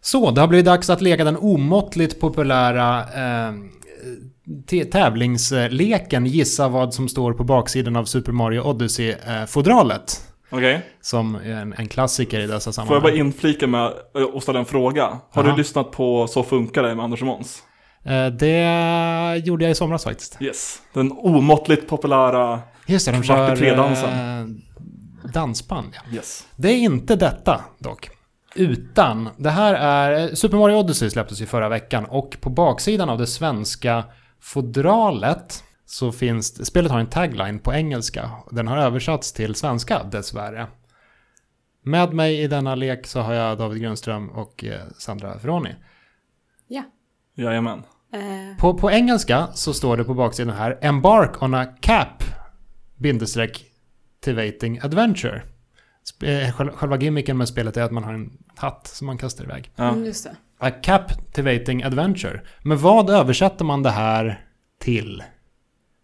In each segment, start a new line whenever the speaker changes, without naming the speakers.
Så, det har blivit dags att leka den omåttligt populära eh, te- tävlingsleken Gissa vad som står på baksidan av Super Mario Odyssey-fodralet.
Okej.
Som är en, en klassiker i dessa
Får jag bara
sammanhang.
inflika med eh, och ställa en fråga? Har
Aha.
du lyssnat på Så funkar det med Anders och Måns?
Eh, det gjorde jag i somras faktiskt.
Yes. Den omåttligt populära...
Just det, de
Kvart i
kör eh,
tredansen.
dansband. Ja.
Yes.
Det är inte detta dock. Utan det här är... eh, Super Mario Odyssey släpptes ju förra veckan och på baksidan av det svenska fodralet så finns... Spelet har en tagline på engelska. Den har översatts till svenska dessvärre. Med mig i denna lek så har jag David Grönström och eh, Sandra Ferroni.
Ja.
Jajamän.
Eh,
På, på engelska så står det på baksidan här Embark on a cap bindestreck tivating adventure. Sp- eh, själ- Själva gimmicken med spelet är att man har en hatt som man kastar iväg.
Ja.
mm, Just det.
A cap tivating adventure. Men vad översätter man det här till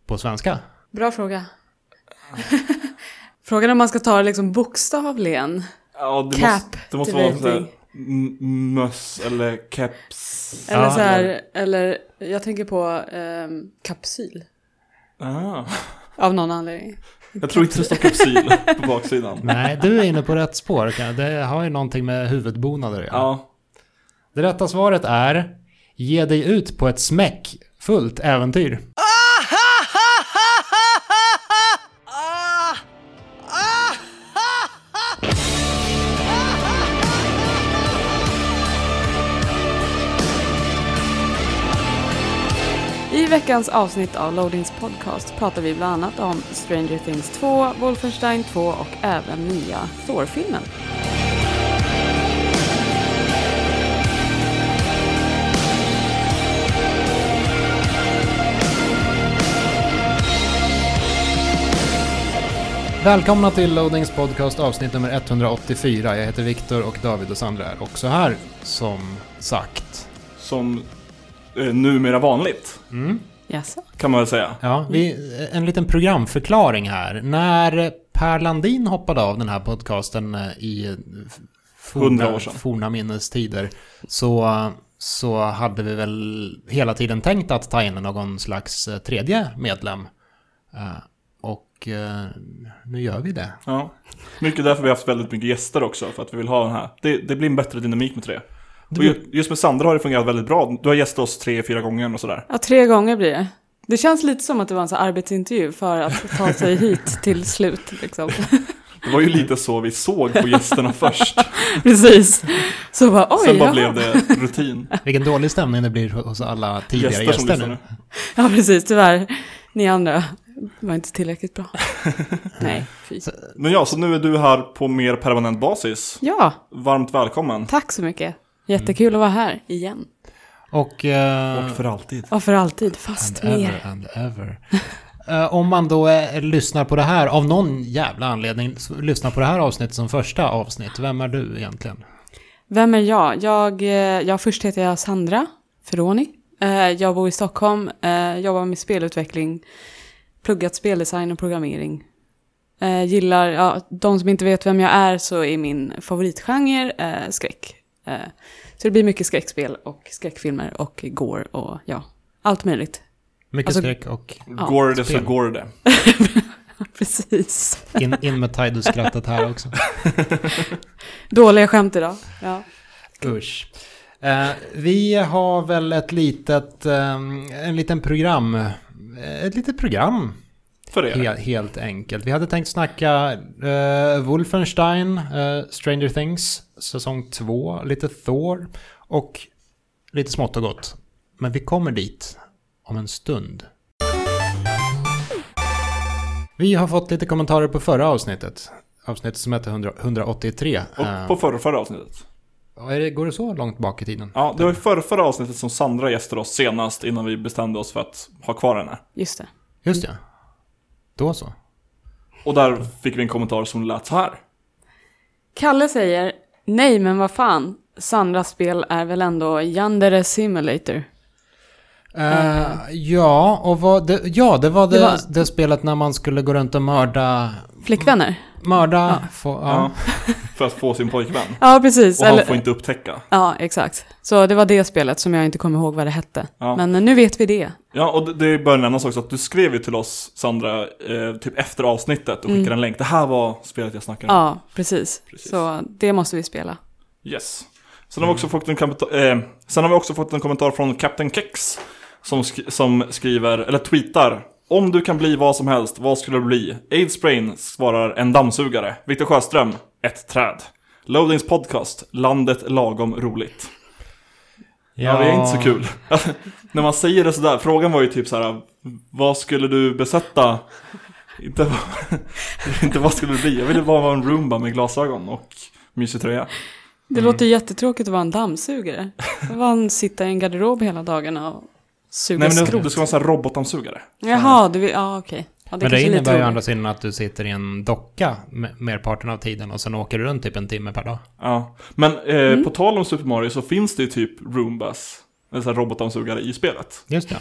på svenska?
Bra fråga. Frågan är om man ska ta det liksom bokstavligen.
Ja, det
Cap,
måste, det måste
det
vara
vet
sådär,
vi.
m- möss eller keps.
Eller
Ja,
så här, eller jag tänker på ehm, kapsyl.
Ah.
Av någon anledning.
Jag tror inte det står kapsyl på baksidan.
Nej, du är inne på rätt spår. kan- Det har ju någonting med huvudbonader att göra.
Ja,
Det rätta svaret är Ge dig ut på ett smäckfullt äventyr.
I veckans avsnitt av Loadings podcast pratar vi bland annat om Stranger Things 2, Wolfenstein 2 och även nya Thor-filmen.
Välkomna till Loadings podcast avsnitt nummer 184. Jag heter Viktor och David och Sandra är också här, som sagt.
som är numera vanligt
Mm.
Jaså?
kan man väl säga.
Ja, vi, en liten programförklaring här. När Per Landin hoppade av den här podcasten eh, i
Hundra år
forna,
sedan.
forna minnestider så, så hade vi väl hela tiden tänkt att ta in någon slags eh, tredje medlem. Eh, Och eh, nu gör vi det.
Ja. Mycket därför vi har haft väldigt mycket gäster också, för att vi vill ha den här. Det, det blir en bättre dynamik med tre. Och ju- just med Sandra har det fungerat väldigt bra. Du har gästat oss tre, fyra gånger och sådär.
Ja, tre gånger blir det. Det känns lite som att det var en så här arbetsintervju för att ta sig hit till slut. Liksom.
Det var ju lite så vi såg på gästerna först.
Precis. Så bara, oj,
Sen bara
jaha.
blev det rutin.
Vilken dålig stämning det blir hos alla tidigare
Gäster som
gäster
lyssnar
nu.
nu.
Ja, precis. Tyvärr. Ni andra var inte tillräckligt bra. Nej, fy.
Men ja, så nu är du här på mer permanent basis.
Ja,
Varmt välkommen.
tack så mycket. Jättekul att vara här igen.
Och, eh,
Och för alltid.
Och för alltid, fast
and
mer.
ever and ever. Eh, om man då eh, lyssnar på det här, av någon jävla anledning, s- lyssnar på det här avsnittet som första avsnitt, vem är du egentligen?
Vem är jag? jag? eh, Ja, först heter jag Sandra Ferroni. Eh, Jag bor i Stockholm, eh, jobbar med spelutveckling, pluggat speldesign och programmering. Eh, Gillar, ja, de som inte vet vem jag är så är min favoritgenre eh, skräck. Eh, Så det blir mycket skräckspel och skräckfilmer och gore och ja, allt möjligt.
Mycket
Alltså-
skräck och
Ja,
går det så
spel.
går det.
Precis.
in, in med Taidus-skrattet här också.
Dåliga skämt idag. Ja.
Usch. Eh, vi har väl ett litet, eh, en liten program, eh, ett litet program
För er.
he- helt enkelt. Vi hade tänkt snacka eh, Wolfenstein, eh, Stranger Things, säsong 2, lite Thor och lite smått och gott. Men vi kommer dit om en stund. Vi har fått lite kommentarer på förra avsnittet. Avsnittet som hette 100, 183.
Och på förra, förra avsnittet.
Eh, är det, går det så långt bak i tiden?
Ja, det var ju förra, förra avsnittet som Sandra gästade oss senast innan vi bestämde oss för att ha kvar henne.
Just det.
Just ja. Då så.
Och där fick vi en kommentar som lät så här.
Kalle säger, nej men vad fan, Sandras spel är väl ändå Yandere Simulator.
Eh, ja, och vad det, ja, det var det,
Det
det,
var-
spelet när man skulle gå runt och mörda
Flickvänner?
Mörda, få, ja.
Ja. För att få sin pojkvän.
Ja, precis.
Och han
Eller,
får inte upptäcka.
Ja, exakt. Så det var det spelet som jag inte kommer ihåg vad det hette.
Ja.
Men eh, nu vet vi det.
Ja, och det- det bör nämnas också att du skrev ju till oss, Sandra, eh, typ efter avsnittet och skickade en länk. Det här var spelet jag snackade om.
Ja, precis.
Precis.
Så det måste vi spela.
Yes. Sen har, vi också fått en kommentar, eh, sen har vi också fått en kommentar från Captain Kex som, sk- som skriver, eller tweetar, om du kan bli vad som helst, vad skulle du bli? Aids Brain svarar en dammsugare. Viktor Sjöström, ett träd. Loadings podcast, landet lagom roligt. Ja, det är inte så kul. När man säger det sådär, frågan var ju typ så här, vad skulle du besätta? Inte, vad- inte vad skulle du bli? Jag ville bara vara en Roomba med glasögon och mysig tröja. Mm.
Det låter ju jättetråkigt att vara en dammsugare. Man sitta i en garderob hela dagarna och suga
Nej men det,
skrot.
det ska vara en sån här robotdammsugare.
Jaha, du vill... Ja, okej. Ja,
Men det
kanske är lite
innebär ju å
roligt.
andra sidan att du sitter i en docka me- merparten av tiden och sen åker du runt typ en timme per dag.
Ja. Men eh, på tal om Super Mario så finns det ju typ Roombas, en sån här robotdammsugare i spelet.
Just det.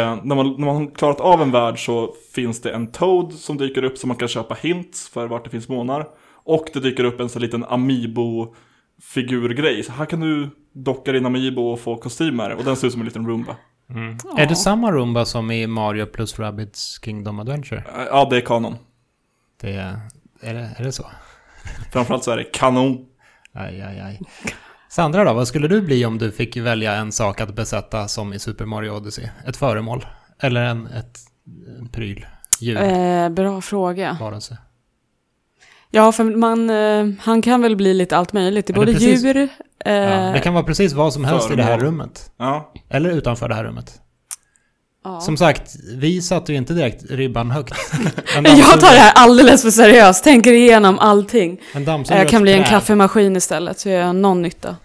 Eh, när, man, när man har klarat av en värld så finns det en Toad som dyker upp som man kan köpa hints för vart det finns månar. Och det dyker upp en sån liten amiibo figurgrej. Så här kan du docka din amiibo och få kostymer. Och den ser ut som en liten Roomba.
Mm.
Ja.
Är det samma Roomba som i Mario plus Rabbids Kingdom Adventure?
Eh, Ja, det är kanon.
Det är, är, det, är det så?
Framförallt så är det kanon.
Aj, aj, aj. Sandra då, vad skulle du bli om du fick välja en sak att besätta som i Super Mario Odyssey? Ett föremål? Eller en, ett, en pryl? Djur?
Eh, bra fråga.
Varelse?
Ja, för man, eh, han kan väl bli lite allt möjligt. Det är
Ja, det
både
är precis-
djur... Eh,
Ja, det kan vara precis vad som helst i det här
föremål.
rummet.
Ja,
Eller utanför det här rummet.
ja.
Som sagt, vi satte ju inte direkt ribban högt. En
Alltså,
Jag tar det
dammsugare-
här alldeles för seriöst, tänker igenom allting.
En dammsugare
Jag kan bli en
träd.
kaffemaskin istället, så gör jag någon nytta.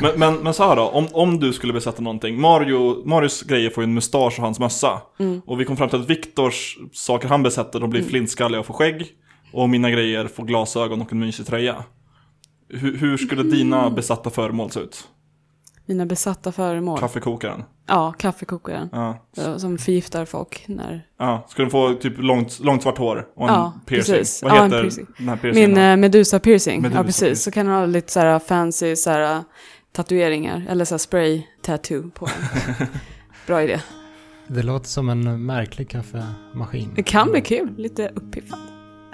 Men, men, men så här då, om, om du skulle besätta någonting. Mario, Marios grejer får ju en mustasch och hans mössa.
Mm.
Och vi kom fram till att Viktors saker han besätter, de blir flintskalliga och får skägg. Och mina grejer får glasögon och en mysig tröja. Hur, hur skulle
Mm.
dina besatta föremål se ut?
Mina besatta föremål.
Kaffekokaren?
ja, kaffekokaren.
Ja.
eh, Som förgiftar folk när...
ja. Skulle de få typ långt, långt svart hår och en
Ja,
piercing?
precis.
Vad
Ja, en
heter
piercing.
den här piercingen?
Min eh, Medusa piercing.
Medusa
ja, precis.
piercing.
Så kan han ha lite så här fancy så här, eh, tatueringar. Eller så här spray tattoo på den. Bra idé.
Det låter som en märklig kaffemaskin.
Det kan bli kul. Lite uppiffande.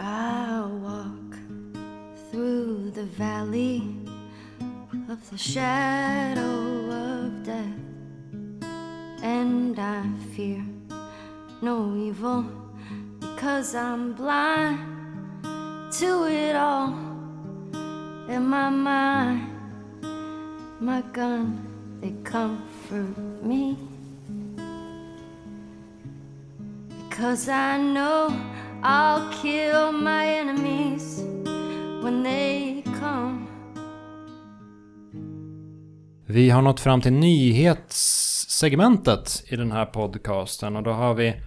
I'll walk through the valley of the shadow of death, and I fear no evil because I'm blind to it all. And my mind, my gun, they comfort me. Because I know I'll kill my enemies when they come.
Vi har nått fram till nyhetssegmentet i den här podcasten och då har vi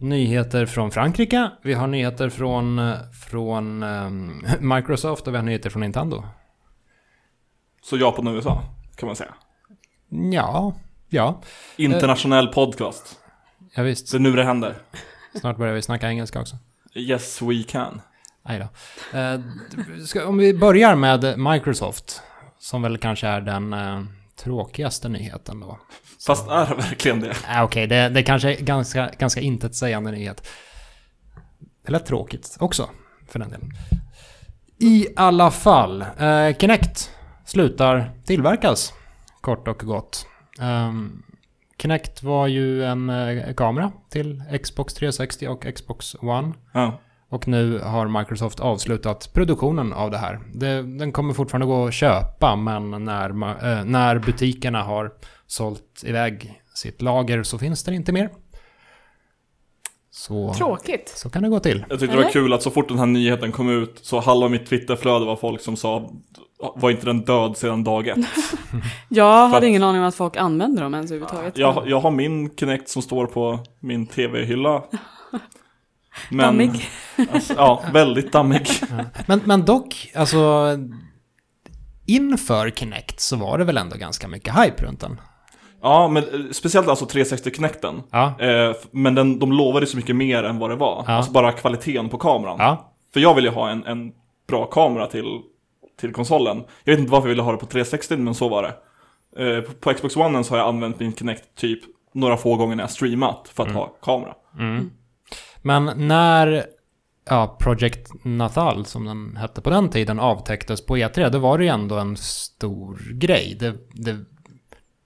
nyheter från Frankrike, vi har nyheter från, eh, från ehm, Microsoft och vi har nyheter från Nintendo.
Så Japan och USA, kan man säga.
Ja, ja,
Internationell podcast.
ja visst.
Det är nu det händer.
Snart börjar vi snacka engelska också.
Yes we can.
Aj då. Eh, d- ska, om vi börjar med Microsoft, som väl kanske är den eh, tråkigaste nyheten då.
Fast är det verkligen det?
Ah, Okej, det, det kanske är ganska, ganska intetsägande nyhet. Eller tråkigt också, för den delen. I alla fall, eh, Kinect slutar tillverkas, kort och gott. Ehm, Kinect var ju en eh, kamera till Xbox 360 och Xbox One.
Ja.
Och nu har Microsoft avslutat produktionen av det här. Det, den kommer fortfarande gå att köpa, men när, ma- eh, när butikerna har sålt iväg sitt lager så finns det inte mer. Så,
Tråkigt.
så kan det gå till.
Jag tyckte det var
Eller?
kul att så fort den här nyheten kom ut så halva mitt Twitterflöde var folk som sa Var inte den död sedan dag ett?
Jag
Fast-
hade ingen aning om att folk använder dem ens överhuvudtaget.
Jag, jag har min Kinect som står på min TV-hylla. Men,
Dammig.
Alltså, ja, väldigt dammig.
Men, men dock, alltså... Inför Kinect så var det väl ändå ganska mycket hype runt den?
Ja, men eh, speciellt alltså 360-Kinecten.
Ja.
Eh, f- Men den, de lovade så mycket mer än vad det var.
Ja.
Alltså bara kvaliteten på kameran.
Ja.
För jag vill ju ha en, en bra kamera till, till konsolen. Jag vet inte varför jag ville ha det på 360, men så var det. Eh, på, på Xbox One så har jag använt min Kinect typ några få gånger när jag streamat för att ha kamera.
Men när ja, Project Natal, som den hette på den tiden, avtäcktes på E3, då var det ju ändå en stor grej. Det, det,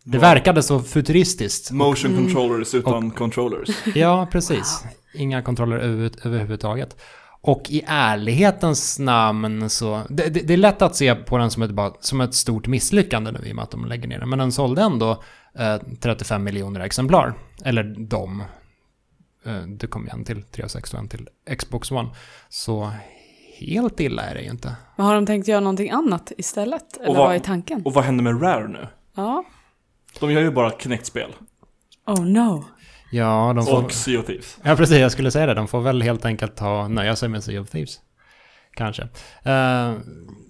det verkade så futuristiskt.
Motion controllers utan controllers.
Ja, precis. Inga kontroller över, överhuvudtaget. Och i ärlighetens namn så... Det, det, det är lätt att se på den som ett, bara- som ett stort misslyckande nu i och med att de lägger ner den. Men den sålde ändå eh, 35 miljoner exemplar. Eller de. Eh, det kom igen till 360 och en till Xbox One. Så helt illa är det ju inte.
Men har de tänkt göra någonting annat istället? Eller
vad-
vad är tanken?
Och vad händer med Rare nu?
Ja.
De gör ju bara Kinect-spel.
Oh no.
Ja, de får...
Och Sea of Thieves.
Ja, precis. Jag skulle säga det. De får väl helt enkelt ta nöja sig med Sea of Thieves. Kanske. Eh,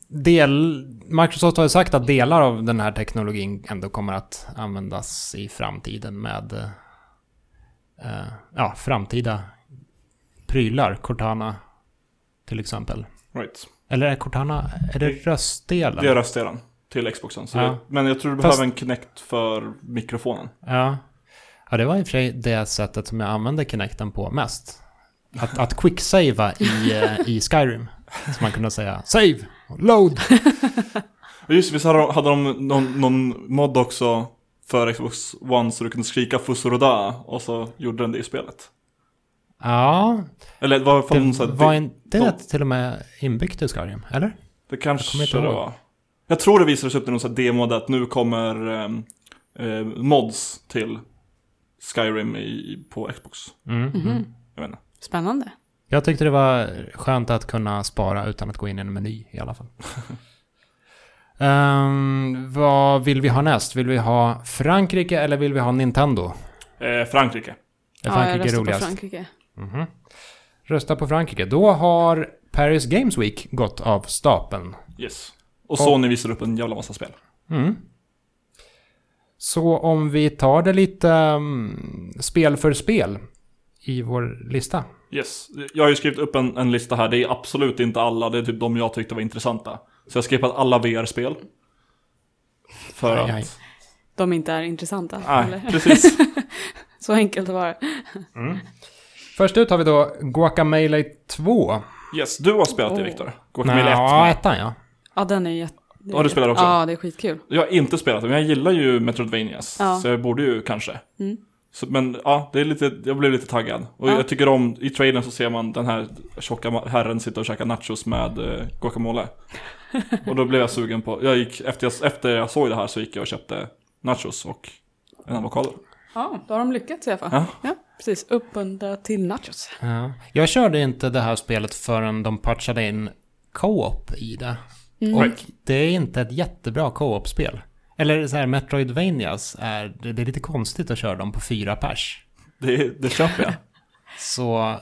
del, Microsoft har ju sagt att delar av den här teknologin ändå kommer att användas i framtiden med eh, ja, framtida prylar. Cortana till exempel.
Right.
Eller är Cortana, är det röstdelen?
Det är röstdelen till Xboxen. Så
Ja.
jag, men jag tror du
Fast-
behöver en Kinect för mikrofonen.
Ja. ja, det var i och för sig det sättet som jag använde Kinecten på mest. Att, att quicksavea i, eh, i Skyrim. Så man kunde säga save, load.
Och just det, visst hade de, hade de någon, någon mod också för Xbox One så du kunde skrika Fusoroda och så gjorde den det i spelet.
Ja,
Eller det var fan någon
det
sån här,
var
det,
inte det till och med inbyggt i Skyrim, eller?
det
kommer
kanske
inte
det
ihåg.
var. Jag tror det visades upp i någon sån här demo där att nu kommer ehm, eh, mods till Skyrim i, på Xbox.
Mm.
Mhm.
Jag vet inte.
Spännande.
Jag tyckte det var skönt att kunna spara utan att gå in i en meny i alla fall. Ehm, vad vill vi ha näst? Vill vi ha Frankrike eller vill vi ha Nintendo?
Eh, Frankrike.
Är
ja, jag
Frankrike
röstar
roligast?
på Frankrike.
Mhm. Rösta på Frankrike. Då har Paris Games Week gått av stapeln.
Yes. Och Sony visar upp en jävla massa spel.
Mm. Så om vi tar det lite mm, spel för spel i vår lista.
Yes. Jag har ju skrivit upp en, en lista här. Det är absolut inte alla. Det är typ de jag tyckte var intressanta. Så jag har skippat alla VR-spel. För
Aj, aj.
att...
De inte är intressanta.
Nej,
Eller?
precis.
Så enkelt var det.
Först ut har vi då Guacamelee 2.
Yes, du har spelat det
Åh.
Viktor. Guacamelee 1.
ja, ettan ja.
Ja, den är jätte...
Ja, du spelar också?
Ja, det är skitkul.
Jag har inte spelat det, men jag gillar ju Metroidvanias.
Ja.
Så jag borde ju kanske.
Mm.
Så, men ja, det är lite, jag blev lite taggad. Och
Ja.
jag tycker om, i trailern så ser man den här tjocka ma- herren sitta och käka nachos med eh, guacamole. och då blev jag sugen på, jag gick, efter, jag, efter jag såg det här så gick jag och köpte nachos och en avokado.
Ja, då har de lyckats i alla fall.
Ja.
precis. Uppmuntra till nachos.
ja. Jag körde inte det här spelet förrän de patchade in co-op i det. Och det är inte ett jättebra co-op-spel. Eller så här, Metroidvanias är, det, det är lite konstigt att köra dem på fyra pers.
Det, det köper jag.
Så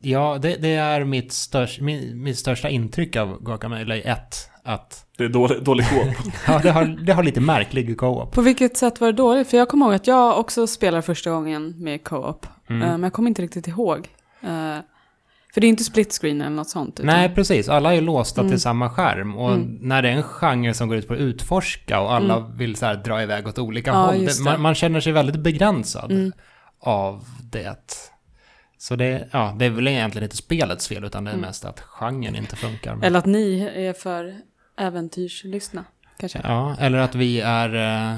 ja, det, det är mitt, störs, min, mitt största intryck av Guacamelee 1. Att
Det är dålig, dålig coop.
ja, det, har, det har lite märklig co-op.
På vilket sätt var det dåligt? För jag kommer ihåg att jag också spelade första gången med co-op.
Mm.
Eh, Men jag kommer inte riktigt ihåg. Eh, För det är inte split screen eller något sånt. utan-
Nej, precis. Alla är låsta
Mm.
till samma skärm. Och när det är en genre som går ut på att utforska och alla vill så här dra iväg åt olika
Mm. Ja,
håll.
just
Det,
det. Mm.
man, man känner sig väldigt begränsad av det. Så det, ja, det är väl egentligen inte spelets fel, utan det är mest att genren inte funkar.
Mm. Eller att ni är för äventyrslyssna, kanske.
Ja, eller att vi är... eh,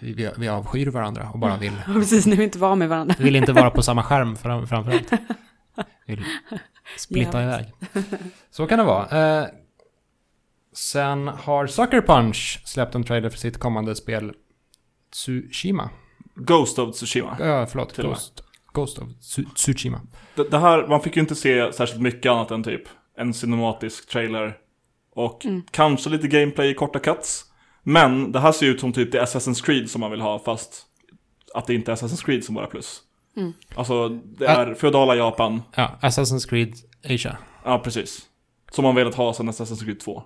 Vi, vi avskyr varandra och bara vill
Ja, Precis, ni vill inte vara med varandra.
Vill inte vara på samma skärm fram, framförallt. Vill splitta
Jävligt.
iväg. Så kan det vara. Eh, sen har Sucker Punch släppt en trailer för sitt kommande spel Tsushima.
Ghost of Tsushima.
Ja, förlåt.
Till och med.
Ghost, Ghost of Tsu- Tsushima.
Det, det här, man fick ju inte se särskilt mycket annat än typ en cinematisk trailer och kanske lite gameplay i korta cuts. Men det här ser ut som typ det Assassin's Creed som man vill ha fast att det inte är Assassin's Creed som bara är plus. Alltså det är feodala Japan,
Ja, Assassin's Creed Asia.
ja precis. Som man velat ha sedan Assassin's Creed 2.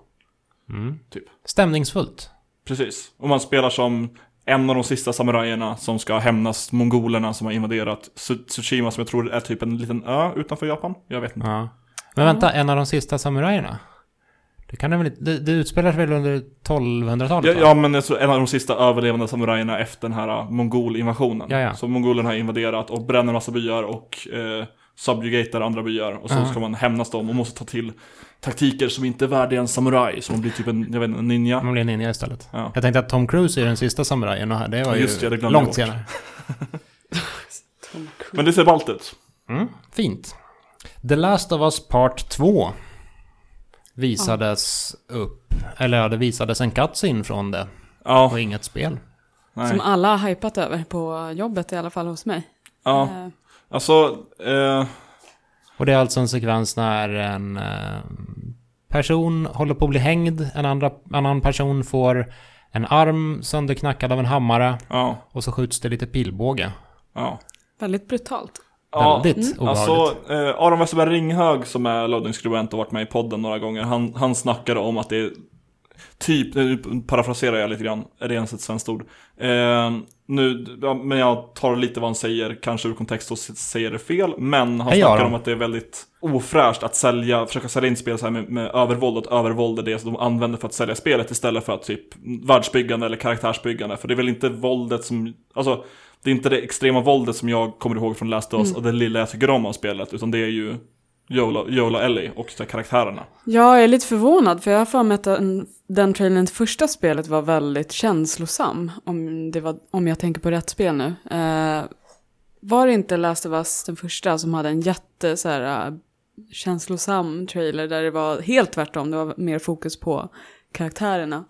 Typ.
Stämningsfullt.
Precis. Och man spelar som en av de sista samurajerna som ska hämnas mongolerna som har invaderat Tsu- Tsushima som jag tror är typ en liten ö utanför Japan. Jag vet inte.
Ja. Men vänta, en av de sista samurajerna? Det, kan det, väl, inte- det, det utspelar sig väl under 1200-talet?
Ja,
va?
ja men jag tror en av de sista överlevande samurajerna efter den här ah, mongolinvasionen.
Ja, ja.
Så mongolerna har invaderat och bränner massa byar och eh, subjugatar andra byar. Och så
Ja.
ska man hämnas dem och måste ta till taktiker som inte är värdiga en samuraj. Så man blir typ en, jag vet inte, en ninja.
Man blir ninja istället.
Ja.
Jag tänkte att Tom Cruise är den sista samurajen och här, det var ju
Just det, det glömde jag
långt
bort.
senare.
Tom Cruise.
Men det ser ballt ut.
Mm, fint. The Last of Us Part 2 visades upp, eller ja, det visades en cutscene från det
Ja,
och inget spel.
nej.
Som alla har hypat över på jobbet i alla fall hos mig.
Ja,
Eh,
alltså, eh,
Och det är alltså en sekvens när en eh, person håller på att bli hängd, en andra, annan person får en arm sönderknackad av en hammare
ja,
och så skjuts det lite pilbåge.
ja.
väldigt brutalt.
Ja,
Väldigt obehagligt.
Alltså, eh, Aron Westerberg Ringhög som är loading-skribent och varit med i podden några gånger, han, han snackade om att det är typ, nu parafraserar jag lite grann, är det ens ett svenskt ord? Eh, nu, ja, men jag tar lite vad han säger, kanske ur kontext och s- säger det fel, men han
Hej,
snackar
Aron.
om att det är väldigt ofräscht att sälja, försöka sälja in spel så här med, med övervåld, att övervåld är det som de använder för att sälja spelet istället för att typ världsbyggande eller karaktärsbyggande, för det är väl inte våldet som, alltså det är inte det extrema våldet som jag kommer ihåg från Last of Us och det lilla jag tycker om av spelet, utan det är ju Jola, Jola Ellie och de här karaktärerna.
Jag är lite förvånad för jag har för mig att den, den trailern till första spelet var väldigt känslosam. Om, det var, om jag tänker på rätt spel nu. Eh, var det inte Last of Us den första som hade en jätte så här, eh, känslosam trailer där det var helt tvärtom. Det var mer fokus på karaktärerna.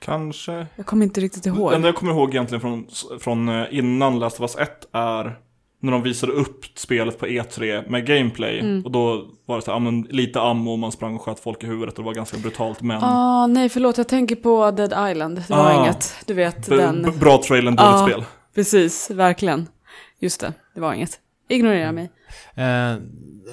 Kanske.
Jag kommer inte riktigt ihåg.
Det enda jag kommer ihåg egentligen från, från eh, innan Last of Us 1 är när de visade upp spelet på E3 med gameplay.
Mm.
Och då var det så här, ja, men lite ammo och man sprang och sköt folk i huvudet och det var ganska brutalt men
Ah, nej förlåt, jag tänker på Dead Island. Det var
Ah.
inget, du vet
b-
den.
b- bra trailern, dåligt
Ja.
spel.
Precis, verkligen. Just det, det var inget. Ignorera mig.
Eh,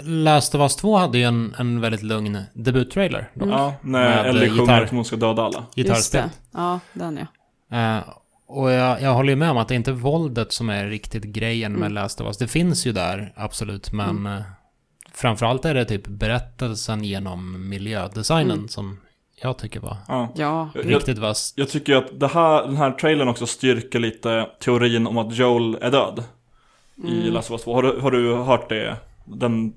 Last of Us 2 hade ju en, en väldigt lugn debuttrailer. Då.
Ja, när
Mm. Med eh,
Ellie sjunger
gitarr.
att hon ska döda alla.
Just
Gitarrspel.
det. Ja, den ja.
Eh, och jag, jag håller ju med om att det är inte våldet som är riktigt grejen med Last of Us. Det finns ju där, absolut, men eh, framförallt är det typ berättelsen genom miljödesignen som jag tycker var
Ja.
Ja,
Jag,
riktigt vass.
jag tycker ju att det här, den här trailern också styrker lite teorin om att Joel är död. I
Mm.
Last of Us 2. Har du, har du hört det? Den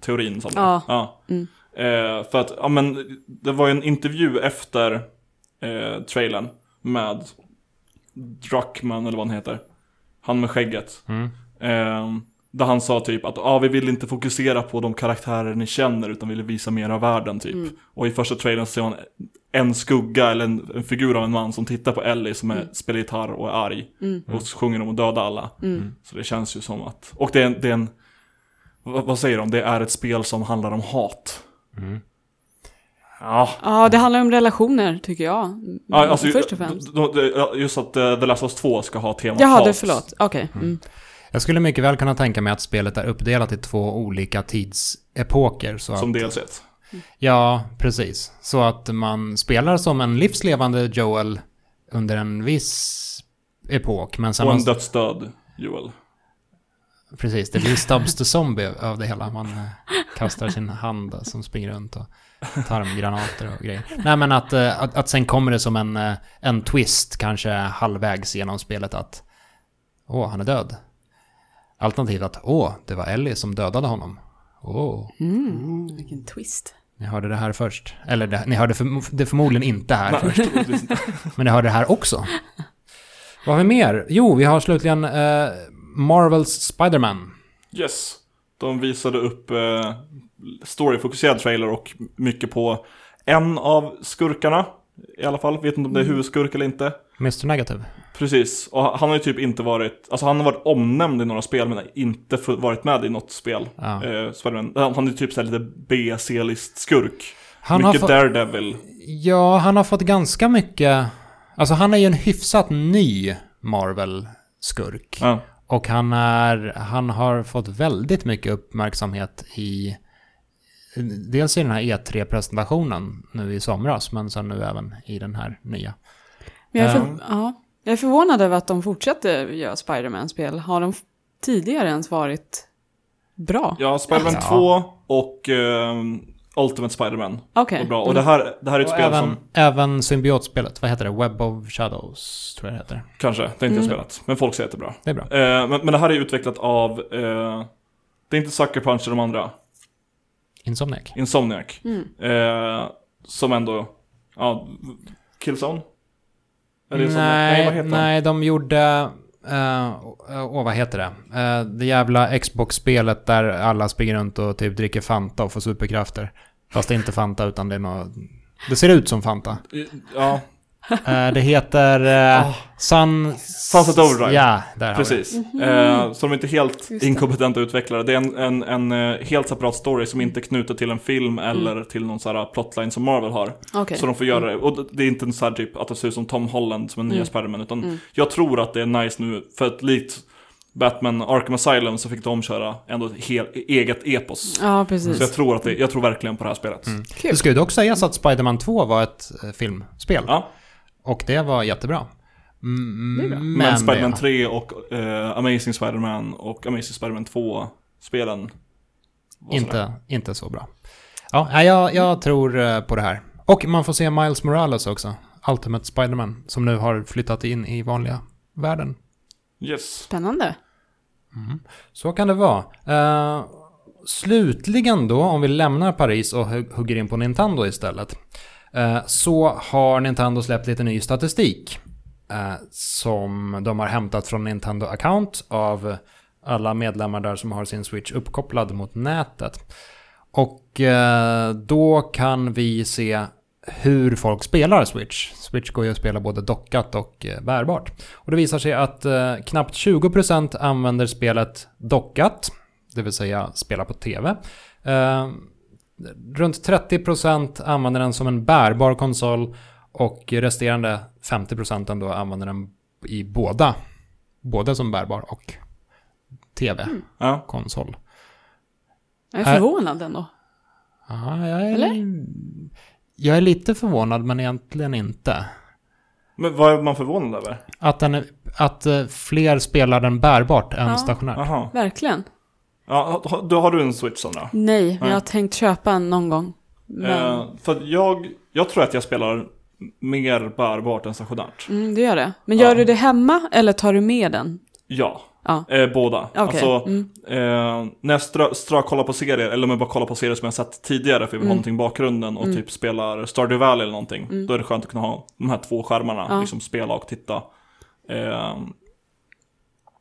teorin? Som
Ja.
ja.
Mm.
Eh, för att, ja men, det var ju en intervju efter eh, trailern med Druckman eller vad han heter. Han med skägget.
Mm.
Eh, där han sa typ att ah, vi vill inte fokusera på de karaktärer ni känner utan vill visa mer av världen typ.
Mm.
Och i första trailern så ser man en skugga eller en, en figur av en man som tittar på Ellie som är, spelar gitarr och är arg.
Mm.
Och så sjunger de och döda alla.
Mm.
Så det känns ju som att, och det är en, det är en vad, vad säger de, det är ett spel som handlar om hat.
Mm.
Ja,
ja det handlar om relationer tycker jag. Mm,
Ja, alltså,
Först och främst.
d- d- d- Just att eh, The Last of Us 2 ska ha temat
Jaha,
hat.
du förlåt. Okej. Mm.
Jag skulle mycket väl kunna tänka mig att spelet är uppdelat i två olika tidsepoker. Så
Som
att,
dels ett.
Ja, precis. Så att man spelar som en livslevande Joel under en viss epok, men sen
Och
man
en dödsdöd, Joel.
Precis, det blir Stubbs the Zombie av det hela. Man eh, kastar sin hand där som springer runt och tarmgranater och grejer. Nej men att, eh, att, att sen kommer det som en, eh, en twist kanske halvvägs genom spelet att åh, han är död. Alternativt att åh, det var Ellie som dödade honom. Åh,
Mm. Vilken twist.
ni hörde det här först. Eller det, ni hörde för, det förmodligen inte här
Nej,
först.
troligtvis inte.
Men det hörde det här också. Vad har vi mer? Jo, vi har slutligen eh, Marvels Spider-Man.
Yes. De visade upp eh, storyfokuserad trailer och mycket på en av skurkarna. I alla fall, vet inte om det är
Mm.
huvudskurk eller inte.
Mr. Negative.
Precis, och han har ju typ inte varit, alltså han har varit omnämnd i några spel men inte fu- varit med i något spel.
Ja.
Eh, Spider-Man. han han är typ såhär lite B-C-list skurk.
Han har
mycket
fått-
Daredevil.
Ja, han har fått ganska mycket... Alltså han är ju en hyfsat ny Marvel-skurk.
Ja.
Och han, är, han har fått väldigt mycket uppmärksamhet i... Dels i den här E3-presentationen nu i somras, men sen nu även i den här nya.
Men jag, är för, ja, jag är förvånad över att de fortsätter göra Spider-Man-spel. Har de f- tidigare ens varit bra?
Ja, Spiderman
Ja.
2 och ehm, Ultimate Spider-Man.
Okej. Mm.
var bra. Och det här, det här är ett
Mm. Och
spel
även,
som
även symbiotspelet, vad heter det? Web of Shadows, tror jag det heter.
kanske, det är inte
Mm.
jag spelat. Men folk säger att det är bra.
Det är bra.
Eh, men, men det här är utvecklat av, eh, det är inte Sucker Punch eller de andra,
Insomniac.
Insomniac.
Mm.
Eh, som ändå, ja, Killzone? Eller
Nej,
Insomniac? Nej, vad
nej,
heter han?
de gjorde... eh, Åh, vad heter det? Eh, det jävla Xbox-spelet där alla springer runt och typ dricker Fanta och får superkrafter. Fast det är inte Fanta utan det är något... Det ser ut som Fanta.
Ja,
Eh, det heter... eh, Sun...
Sunset Ah. Overdrive.
Ja, där har vi.
Precis. Eh, så de är inte helt
Just det.
inkompetenta utvecklare. Det är en, en, en eh, helt separat story som inte är knuten till en film eller till någon sån här plotline som Marvel har.
Okej. Mm.
Så de får göra det. Och det- det är inte en sån här typ att det ser ut som Tom Holland som en nya Spiderman. Utan
Mm.
jag tror att det är nice nu, för att likt Batman Arkham Asylum så fick de köra ändå ett hel, eget epos.
Ja, precis.
Så jag tror, att det, jag tror verkligen på det här spelet.
Mm.
Kul.
Det ska ju dock sägas att Spider-Man 2 var ett eh, filmspel.
Ja,
Och det var jättebra. Mm,
Det är bra.
men
men, Spiderman
det-
3 och eh, Amazing Spiderman och Amazing Spiderman 2-spelen
Inte, inte så bra. Ja, nej, jag, jag tror eh, på det här. Och man får se Miles Morales också. Ultimate Spider-Man. Som nu har flyttat in i vanliga världen.
Yes.
Spännande.
Så kan det vara. Eh, slutligen då, om vi lämnar Paris och hu- hugger in på Nintendo istället. eh, så har Nintendo släppt lite ny statistik. eh, som de har hämtat från Nintendo Account av alla medlemmar där som har sin Switch uppkopplad mot nätet. Och eh, då kan vi se hur folk spelar Switch. Switch går ju att spela både dockat och eh, bärbart. Och det visar sig att eh, knappt 20% använder spelet dockat, det vill säga spela på TV. Eh, runt 30% använder den som en bärbar konsol och resterande 50% ändå använder den i båda. Både som bärbar och TV-konsol.
Ja.
Jag är
Här-
förvånad ändå.
Ja, jag är,
Eller?
Jag är lite förvånad men egentligen inte.
Men vad är man förvånad över?
Att, den, är- att eh, fler spelar den bärbart än
Ja.
stationärt.
Jaha.
Verkligen.
Ja, ha- då har du en switch Sandra?
Nej, men
Nej.
jag har tänkt köpa en någon gång. Men,
Eh, för att jag, jag tror att jag spelar mer bärbart än stationärt.
mm, du gör det. Men gör
Ja.
du det hemma eller tar du med den?
Ja,
Ja,
eh, båda.
okej.
Alltså,
mm.
eh, när jag strö, strö kollar på serier, eller om jag bara kollar på serier som jag sett tidigare för jag vill ha
Mm.
någonting i bakgrunden och
Mm.
typ spelar Stardew Valley eller någonting,
Mm.
då är det skönt att kunna ha de här två skärmarna,
Ja.
liksom spela och titta. Eh,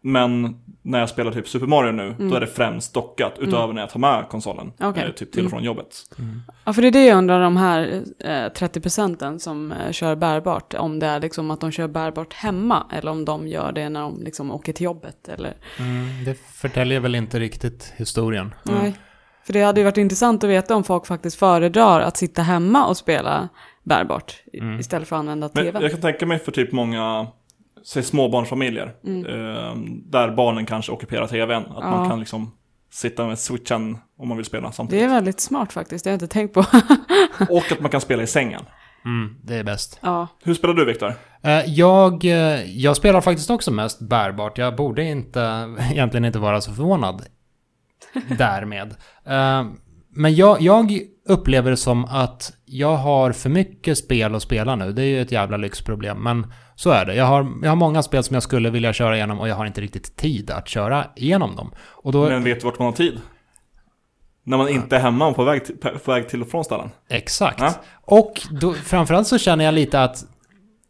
men när jag spelar typ Super Mario nu, då är det främst dockat, utöver när jag tar med konsolen,
Mm. Okej. Mm.
eh, typ till och från jobbet.
ja, för det är det jag undrar de här eh, 30 procenten som eh, kör bärbart. Om det är liksom att de kör bärbart hemma eller om de gör det när de liksom åker till jobbet eller...
Mm, det förtäljer väl inte riktigt historien.
Mm.
Nej. För det hade ju varit intressant att veta om folk faktiskt föredrar att sitta hemma och spela bärbart i-
Mm.
istället för att använda
Men
tvn.
jag kan tänka mig för typ många, säg småbarnsfamiljer,
Mm.
eh, där barnen kanske ockuperar tvn, att
Ja.
man kan liksom sitta med switchen om man vill spela
Det är
samtidigt.
väldigt smart faktiskt, det har jag inte tänkt på.
Och att man kan spela i sängen.
Mm, det är bäst.
ja.
Hur spelar du Viktor?
Eh, Jag, eh, jag spelar faktiskt också mest bärbart. Jag borde inte, egentligen inte vara så förvånad därmed. Eh, Men jag, jag upplever det som att jag har för mycket spel att spela nu. Det är ju ett jävla lyxproblem, men så är det. Jag har, jag har många spel som jag skulle vilja köra igenom och jag har inte riktigt tid att köra igenom dem. Och då,
Men vet du vart man har tid? När man inte är hemma och på väg till, på väg till och från ställen.
Exakt.
Ja.
Och då, framförallt så känner jag lite att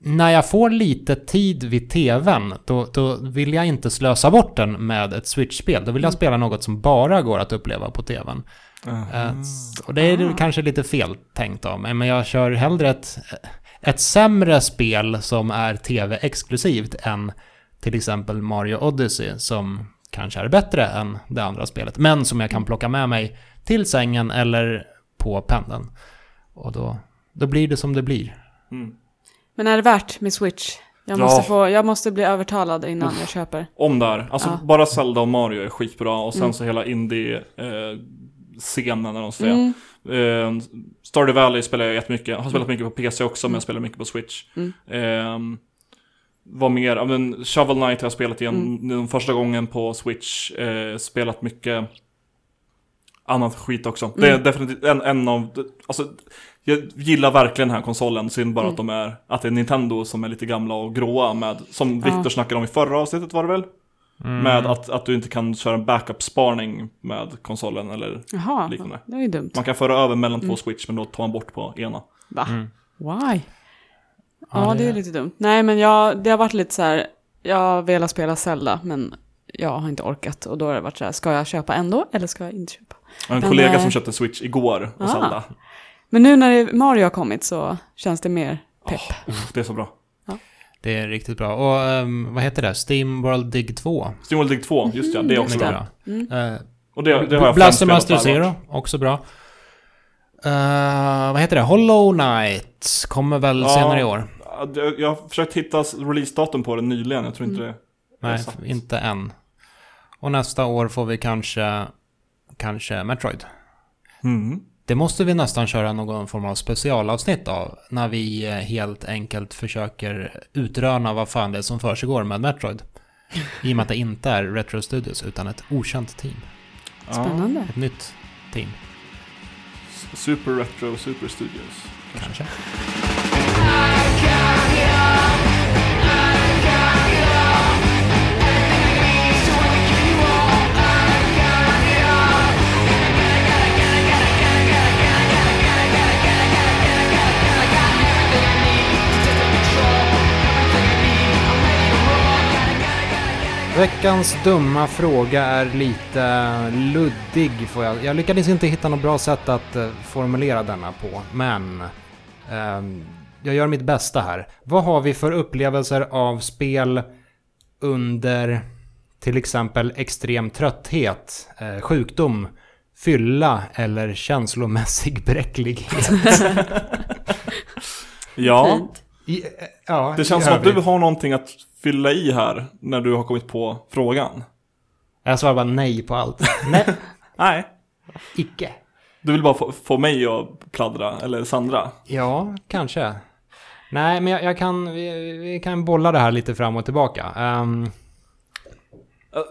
när jag får lite tid vid tvn, då, då vill jag inte slösa bort den med ett Switch-spel. Då vill jag spela något som bara går att uppleva på tvn. Eh, s- och det är
Ah.
kanske lite fel tänkt av mig, men jag kör hellre ett, ett sämre spel som är tv-exklusivt än till exempel Mario Odyssey som kanske är bättre än det andra spelet, men som jag kan plocka med mig till sängen eller på pendeln. Och då, då blir det som det blir.
Mm.
Men är det värt med Switch? Jag
Ja.
måste, få, jag måste bli övertalad innan jag köper.
Om där, alltså
Ja.
bara Zelda och Mario är skitbra och sen
Mm.
så hela eh, indie-scenen eller vad man ska säga.
Mm.
Eh, Stardew Valley spelar jag jättemycket. Jag har spelat mycket på PC också, men jag spelar mycket på Switch.
Mm.
Eh, vad mer? Ja, men Shovel Knight har jag spelat igen
Mm.
den första gången på Switch. Eh, spelat mycket Ehm, annat skit också. Det
Mm.
är definitivt en, en av, alltså jag gillar verkligen den här konsolen, synd bara
Mm.
att de är, att det är Nintendo som är lite gamla och gråa med, som Victor snackade om i förra avsnittet var det väl? Med att, att du inte kan köra en backup-sparning med konsolen eller
Jaha,
liknande.
det var ju dumt.
Man kan föra över mellan
Mm.
två switch men då tar man bort på ena.
Va? Why? Mm. Ja, det är lite dumt. Nej, men jag, det har varit lite så här, jag har velat spela Zelda, men jag har inte orkat. Och då har det varit så här, ska jag köpa ändå eller ska jag inte köpa?
Jag har en
Men,
kollega
eh,
som köpte Switch igår och
ah.
Zelda.
Men nu när det, Mario har kommit så känns det mer pepp.
Uff, det är så bra.
Det är riktigt bra. Och ehm, vad heter det? Steam World Dig 2.
Steamworld Dig 2, just
Mm,
ja, det Mm. är också
Mycket
bra.
bra. Eh,
Och det, det har jag främst
Blaster
spelat
Master
på allvar.
Zero, också bra. Eh, vad heter det? Hollow Knight kommer väl
Ja.
senare i år?
Ja, det- Jag har försökt hitta releasedatum på den nyligen, jag tror inte
Mm.
det.
Nej,
Exakt.
inte än. Och nästa år får vi kanske, kanske Metroid.
Mm.
Det måste vi nästan köra någon form av specialavsnitt av. När vi eh, helt enkelt försöker utröna vad fan det är som försiggår med Metroid. I och med att det inte är Retro Studios utan ett okänt team.
Ja.
Spännande.
Ett nytt team,
Super Retro, Super Studios.
kanske. Veckans dumma fråga är lite luddig. Får jag. jag lyckades inte hitta något bra sätt att eh, formulera denna på, men ehm, jag gör mitt bästa här. Vad har vi för upplevelser av spel under till exempel extrem trötthet, eh, sjukdom, fylla eller känslomässig bräcklighet?
Ja,
I, eh, ja,
det
i
känns som att du
övrigt.
har någonting att fylla i här när du har kommit på frågan.
Jag svarar bara nej på allt. nej,
Nej.
icke.
Du vill bara få, få mig att pladdra, eller Sandra.
Ja, kanske. Nej, men jag, jag kan, vi, vi kan bolla det här lite fram och tillbaka. Ehm,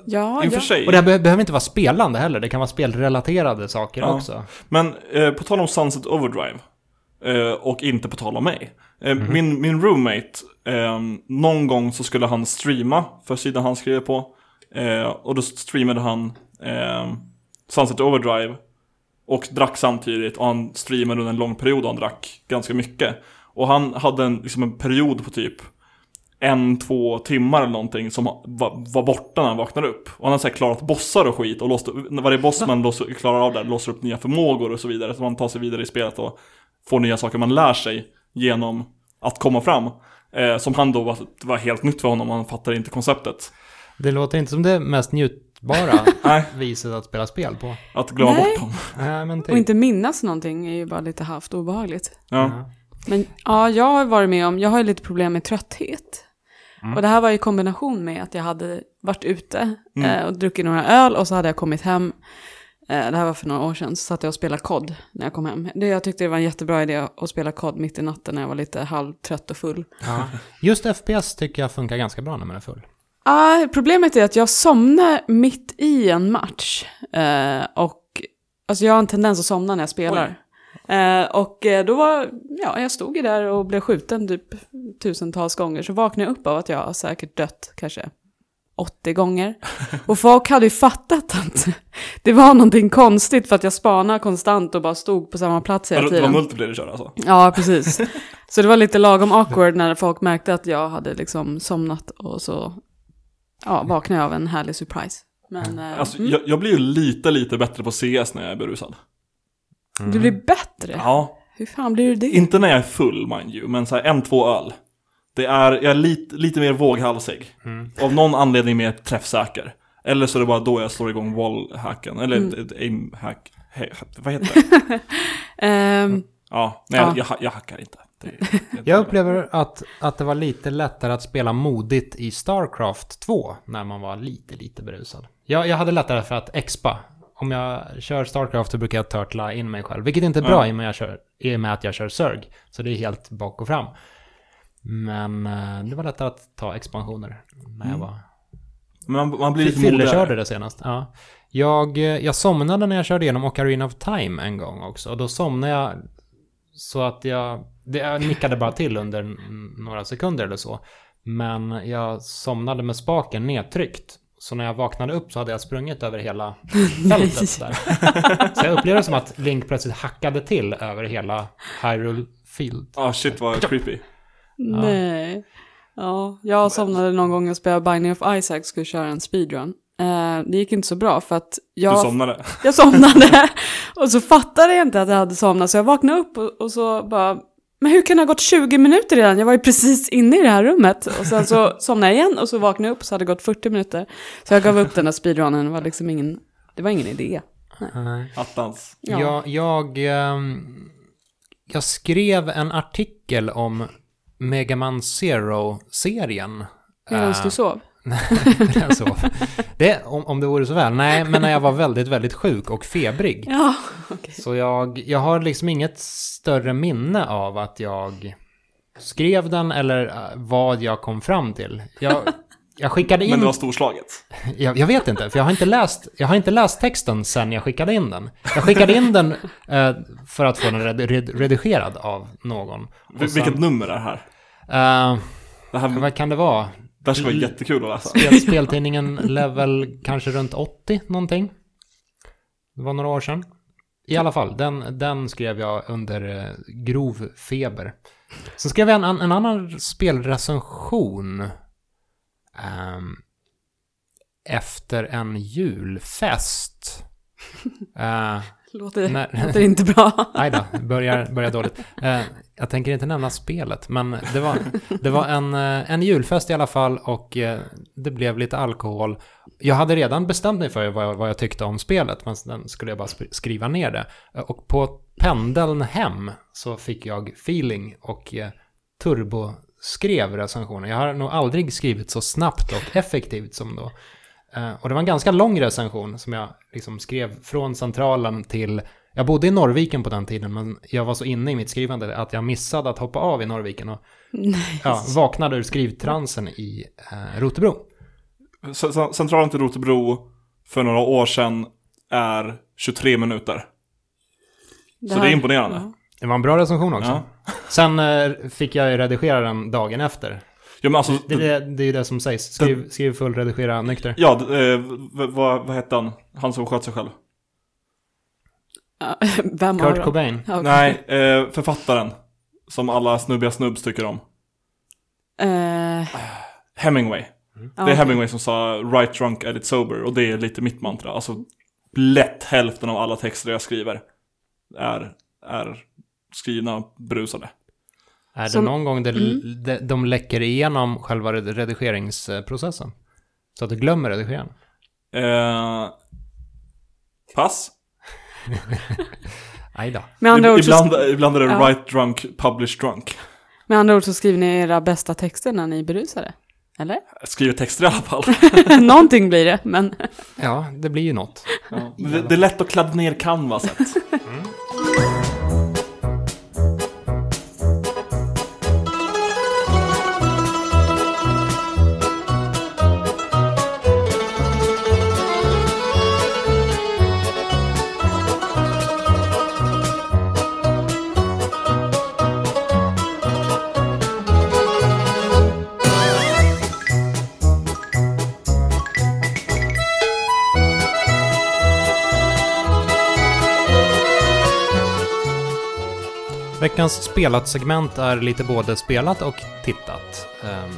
Ja,
I och för
ja.
sig.
och det här be- behöver inte vara spelande heller, det kan vara spelrelaterade saker
Ja.
också.
Men eh, på tal om Sunset Overdrive, eh, och inte på tal om mig. Eh, min, min roommate, eh, någon gång så skulle han streama för sidan han skrev på. Eh, och då streamade han eh, Sunset Overdrive och drack samtidigt. Och han streamade under en lång period och han drack ganska mycket. Och han hade en, liksom en period på typ en, två timmar eller någonting som var, var borta när han vaknade upp. Och han hade så här klarat bossar och skit och låste, när varje boss man låser, klarar av där låser upp nya förmågor och så vidare. Så man tar sig vidare i spelet och får nya saker man lär sig genom att komma fram. Eh, som han då var, det var helt nytt för honom, han fattade inte konceptet.
Det låter inte som det mest njutbara
Nej,
viset att spela spel på.
att glömma
Nej.
bort dem.
Nej, men typ.
Och inte minnas någonting är ju bara lite halvt obehagligt.
Ja.
Men ja, jag har varit med om, jag har ju lite problem med trötthet. Och det här var i kombination med att jag hade varit ute eh, och druckit några öl och så hade jag kommit hem. Eh, det här var för några år sedan, så satt jag och spelade kod när jag kom hem. Det, jag tyckte det var en jättebra idé att spela kod mitt i natten när jag var lite halvtrött och full.
typ, Ja. Just FPS tycker jag funkar ganska bra när man är full.
Ah, problemet är att jag somnar mitt i en match. Eh, och alltså jag har en tendens att somna när jag spelar. Eh, och eh, då var, ja, jag stod ju där och blev skjuten typ tusentals gånger. Så vaknade jag upp av att jag har säkert dött kanske 80 gånger. Och folk hade ju fattat att det var någonting konstigt för att jag spanade konstant och bara stod på samma plats hela
Eller det var
tiden.
multiplayer du körde alltså?
Ja, precis. Så det var lite lagom awkward när folk märkte att jag hade liksom somnat och så ja, vaknade jag av en härlig surprise. Men eh,
Alltså, jag, jag blir ju lite, lite bättre på CS när jag är berusad.
du blir bättre.
mm. Ja,
Hur fan blir du det?
inte när jag är full mind you, men så här en, två öl. Det är, jag är lite, lite mer våghalsig.
Mm.
Av någon anledning mer träffsäker. Eller så är det bara då jag slår igång wallhacken, eller eh, aimhack, he- vad heter det?
Ehm,
Ja, nej,
Ja.
Jag, jag, jag hackar inte. Det, det,
Jag upplever att, att det var lite lättare att spela modigt i Starcraft 2 när man var lite, lite berusad. Jag, jag hade lättare för att expa. Om jag kör Starcraft så brukar jag turtla in mig själv, vilket inte är bra i, och med jag kör, i och med att jag kör Zerg. Så det är helt bak och Mm. fram. Men eh, det var lättare att ta expansioner när jag var
Men man, man blir lite
Fille körde
modigare.
det senast. Ja. Jag, eh, jag somnade när jag körde igenom Ocarina of Time en gång också. Och då somnade jag så att jag... Det, jag nickade bara till under n- några sekunder eller så. Men jag somnade med spaken nedtryckt. Så när jag vaknade upp så hade jag sprungit över hela fältet där. Så jag upplevde det som att Link plötsligt hackade till över hela Hyrule Field.
Ah shit vad creepy.
Nej. Ja, jag somnade någon gång jag spelade Binding of Isaac och skulle köra en speedrun. Eh, det gick inte så bra för att
Du
jag,
somnade.
jag somnade och så fattade jag inte att jag hade somnat så jag vaknade upp och, och så bara men hur kan det ha gått 20 minuter redan? Jag var ju precis inne i det här rummet. Och sen så somnade jag igen och så vaknade jag upp och så hade det gått 40 minuter. Så jag gav upp den där speedrunnen. Det var liksom ingen, det var ingen idé.
Nej.
Attans.
Ja.
Jag, jag, ehm, jag skrev en artikel om Mega Man Zero-serien.
Medan
Eh,
du sov.
den så. Det, om, om det vore så väl. Nej, men när jag var väldigt, väldigt sjuk och febrig.
Ja, okej.
Så jag, jag har liksom inget större minne av att jag skrev den eller eh, vad jag kom fram till. Jag, jag skickade
Men
in
det var storslaget.
jag, jag vet inte, för jag har inte, läst, jag har inte läst texten sen jag skickade in den. Jag skickade in den eh, för att få den red, red, redigerad av någon. Och
Vil-
sen,
Vilket nummer är det här?
eh,
Det här,
vad kan det vara?
det här ska vara jättekul att läsa.
Spel, speltidningen Level kanske runt 80 någonting. Det var några år sedan. I alla fall, den, den skrev jag under eh, grov feber. Sen skrev jag en, an- en annan spelrecension. ehm, efter en julfest. Eh,
Låter,
när-
låter inte bra.
Nej då, börjar, börjar dåligt. Eh, jag tänker inte nämna spelet, men det var, det var en, eh, en julfest i alla fall och eh, det blev lite alkohol. Jag hade redan bestämt mig för vad jag, vad jag tyckte om spelet, men sen skulle jag bara sp- skriva ner det. Eh, Och på pendeln hem så fick jag feeling och eh, turbo skrev recensionen. Jag har nog aldrig skrivit så snabbt och effektivt som då. Eh, Och det var en ganska lång recension som jag liksom skrev från centralen till... Jag bodde i Norrviken på den tiden, men jag var så inne i mitt skrivande att jag missade att hoppa av i Norrviken och ja, vaknade ur skrivtransen i eh, Rotebro.
C- c- Centralen till Rotebro för några år sedan är 23 minuter. Så det är
här-
imponerande.
Ja.
Det var en bra recension också.
Ja.
Sen eh, fick jag ju redigera den dagen efter.
Ja, men alltså,
Det, det, det är ju det som sägs. Skriv, skriv full, redigera nykter.
ja d- eh, v- vad, vad hette han? Han som sköt sig själv.
Ja, Vem har
Kurt
då?
Cobain.
Ja, okej.
Nej, eh, författaren. Som alla snubbiga snubbs tycker om.
Eh,
Hemingway.
ja,
Det är
okej.
Hemingway som sa “Right drunk, edit sober” och det är lite mitt mantra. Alltså, lätt hälften av alla texter jag skriver är, är skrivna brusade.
Är
Som- Mm.
det någon gång det, de, de läcker igenom själva red- redigeringsprocessen? Så att du glömmer redigeringen?
Eh, pass.
Aj då.
Med andra,
Ib-
ord så,
ibland, ibland är det
Ja.
“right drunk, publish drunk”.
med andra ord så skriver ni era bästa texter när ni är berusade. Eller?
Jag skriver texter i alla fall.
Någonting blir det, men...
Ja, det blir ju något.
Ja. Men det, det är lätt att kladda ner canvaset.
Veckans spelat-segment är lite både spelat och tittat. Ehm,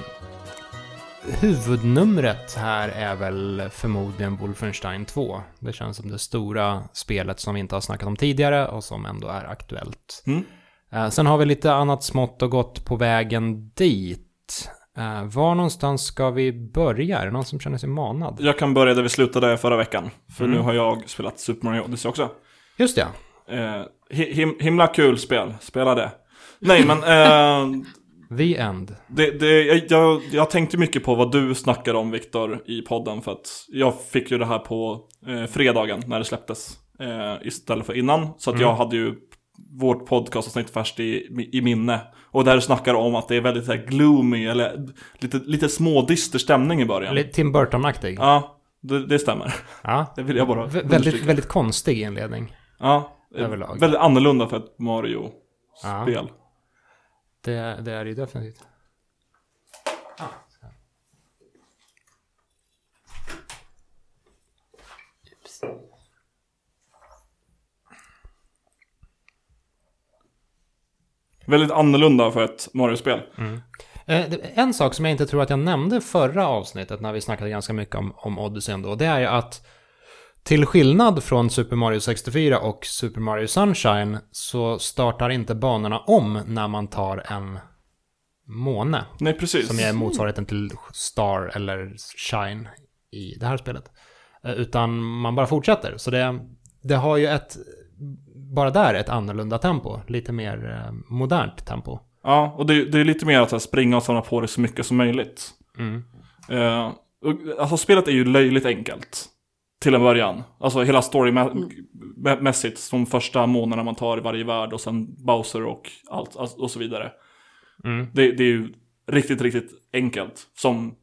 huvudnumret här är väl förmodligen Wolfenstein 2. Det känns som det stora spelet som vi inte har snackat om tidigare och som ändå är aktuellt.
Mm.
Eh, sen har vi lite annat smått och gott på vägen dit. Eh, var någonstans ska vi börja? Är det någon som känner sig manad?
Jag kan börja där vi slutade förra veckan. För nu har jag spelat Super Mario Odyssey också.
Just det,
Eh, hi- him- himla kul spel, spela det. Nej men, eh,
The End.
det, det, jag- jag, jag tänkte mycket på vad du snackade om Viktor i podden. För att jag fick ju det här på eh, fredagen när det släpptes. Eh, istället för innan. Så att jag hade ju vårt podcastavsnitt färskt i, i minne. Och Och där snackar om att det är väldigt så här gloomy, eller lite, lite smådyster stämning i början.
Lite Tim Burton-aktig.
Ja, det, det stämmer.
Ja.
Det vill jag bara
Vä- väldigt,
understryka.
väldigt konstig inledning.
Ja,
överlag.
väldigt annorlunda för ett Mario-spel.
Ja, det, det är det ju definitivt.
Väldigt annorlunda för ett Mario-spel.
Eh, det- En sak som jag inte tror att jag nämnde förra avsnittet när vi snackade ganska mycket om, om Odyssey ändå, det är ju att till skillnad från Super Mario 64 och Super Mario Sunshine så startar inte banorna om när man tar en måne.
Nej, precis.
Som är motsvarigheten till Star eller Shine i det här spelet. Eh, Utan man bara fortsätter. Så det, det har ju ett, bara där ett annorlunda tempo. Lite mer eh, modernt tempo.
Ja, och det, det är lite mer att så här, springa och samla på dig så mycket som möjligt.
Mm.
Eh, och, alltså spelet är ju löjligt enkelt. Till en början. Alltså hela storymässigt. Från första månaderna man tar i varje värld och sen Bowser och allt allt- och så vidare.
Mm.
Det, det är ju riktigt, riktigt enkelt. Som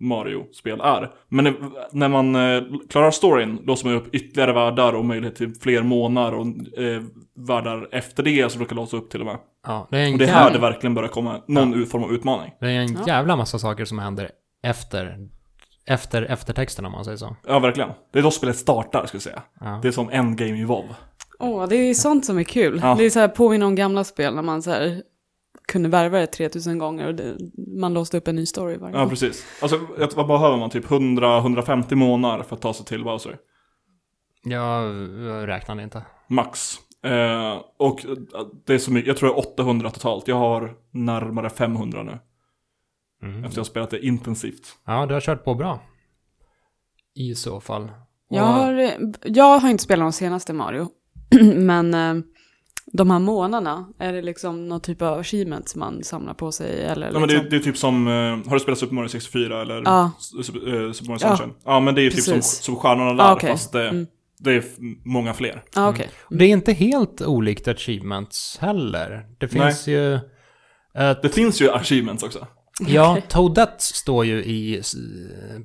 Mario-spel är. Men när- när man eh, klarar storyn låser man ju upp ytterligare världar och möjlighet till fler månader och eh, världar efter det som brukar låsa upp till och med.
Ja, det är en,
Och det är
jäv-
här det verkligen börjar komma någon ut- form av utmaning.
det är en
Ja.
jävla massa saker som händer efter, efter eftertexten om man säger så.
Ja, verkligen. Det är då spelet startar, skulle jag säga.
Ja.
Det är som endgame i WoW.
Åh, det är sånt som är kul.
Ja.
Det är så här påminner om gamla spel när man så här kunde värva det 3000 gånger och det, man låste upp en ny story varje
Ja,
gång.
precis. Alltså, jag- vad behöver man? Typ 100-150 månader för att ta sig till Bowser.
Jag eh, räknade inte.
Max. Eh, och eh, det är så mycket, jag tror det är 800 totalt. Jag har närmare 500 nu.
Mm.
Efter att jag har spelat det intensivt.
Ja, du har kört på bra. I så fall. Och-
Jag har, jag har inte spelat de senaste Mario, men eh, de här månaderna, är det liksom någon typ av achievement som man samlar på sig? Eller
Ja, men
liksom?
det, det är typ som, eh, har du spelat Super Mario 64 eller
Ja.
S- Super, eh, Super Mario
Ja.
Sunshine? Ja, men det är ju typ som,
Precis.
som stjärnorna där,
Ah, okej.
fast det,
Mm.
det är f- många fler.
Ja, okej.
Mm.
Det är inte helt olikt achievements heller. Det finns ju... eh,
Det finns ju achievements också.
ja, Toadette står ju i, s-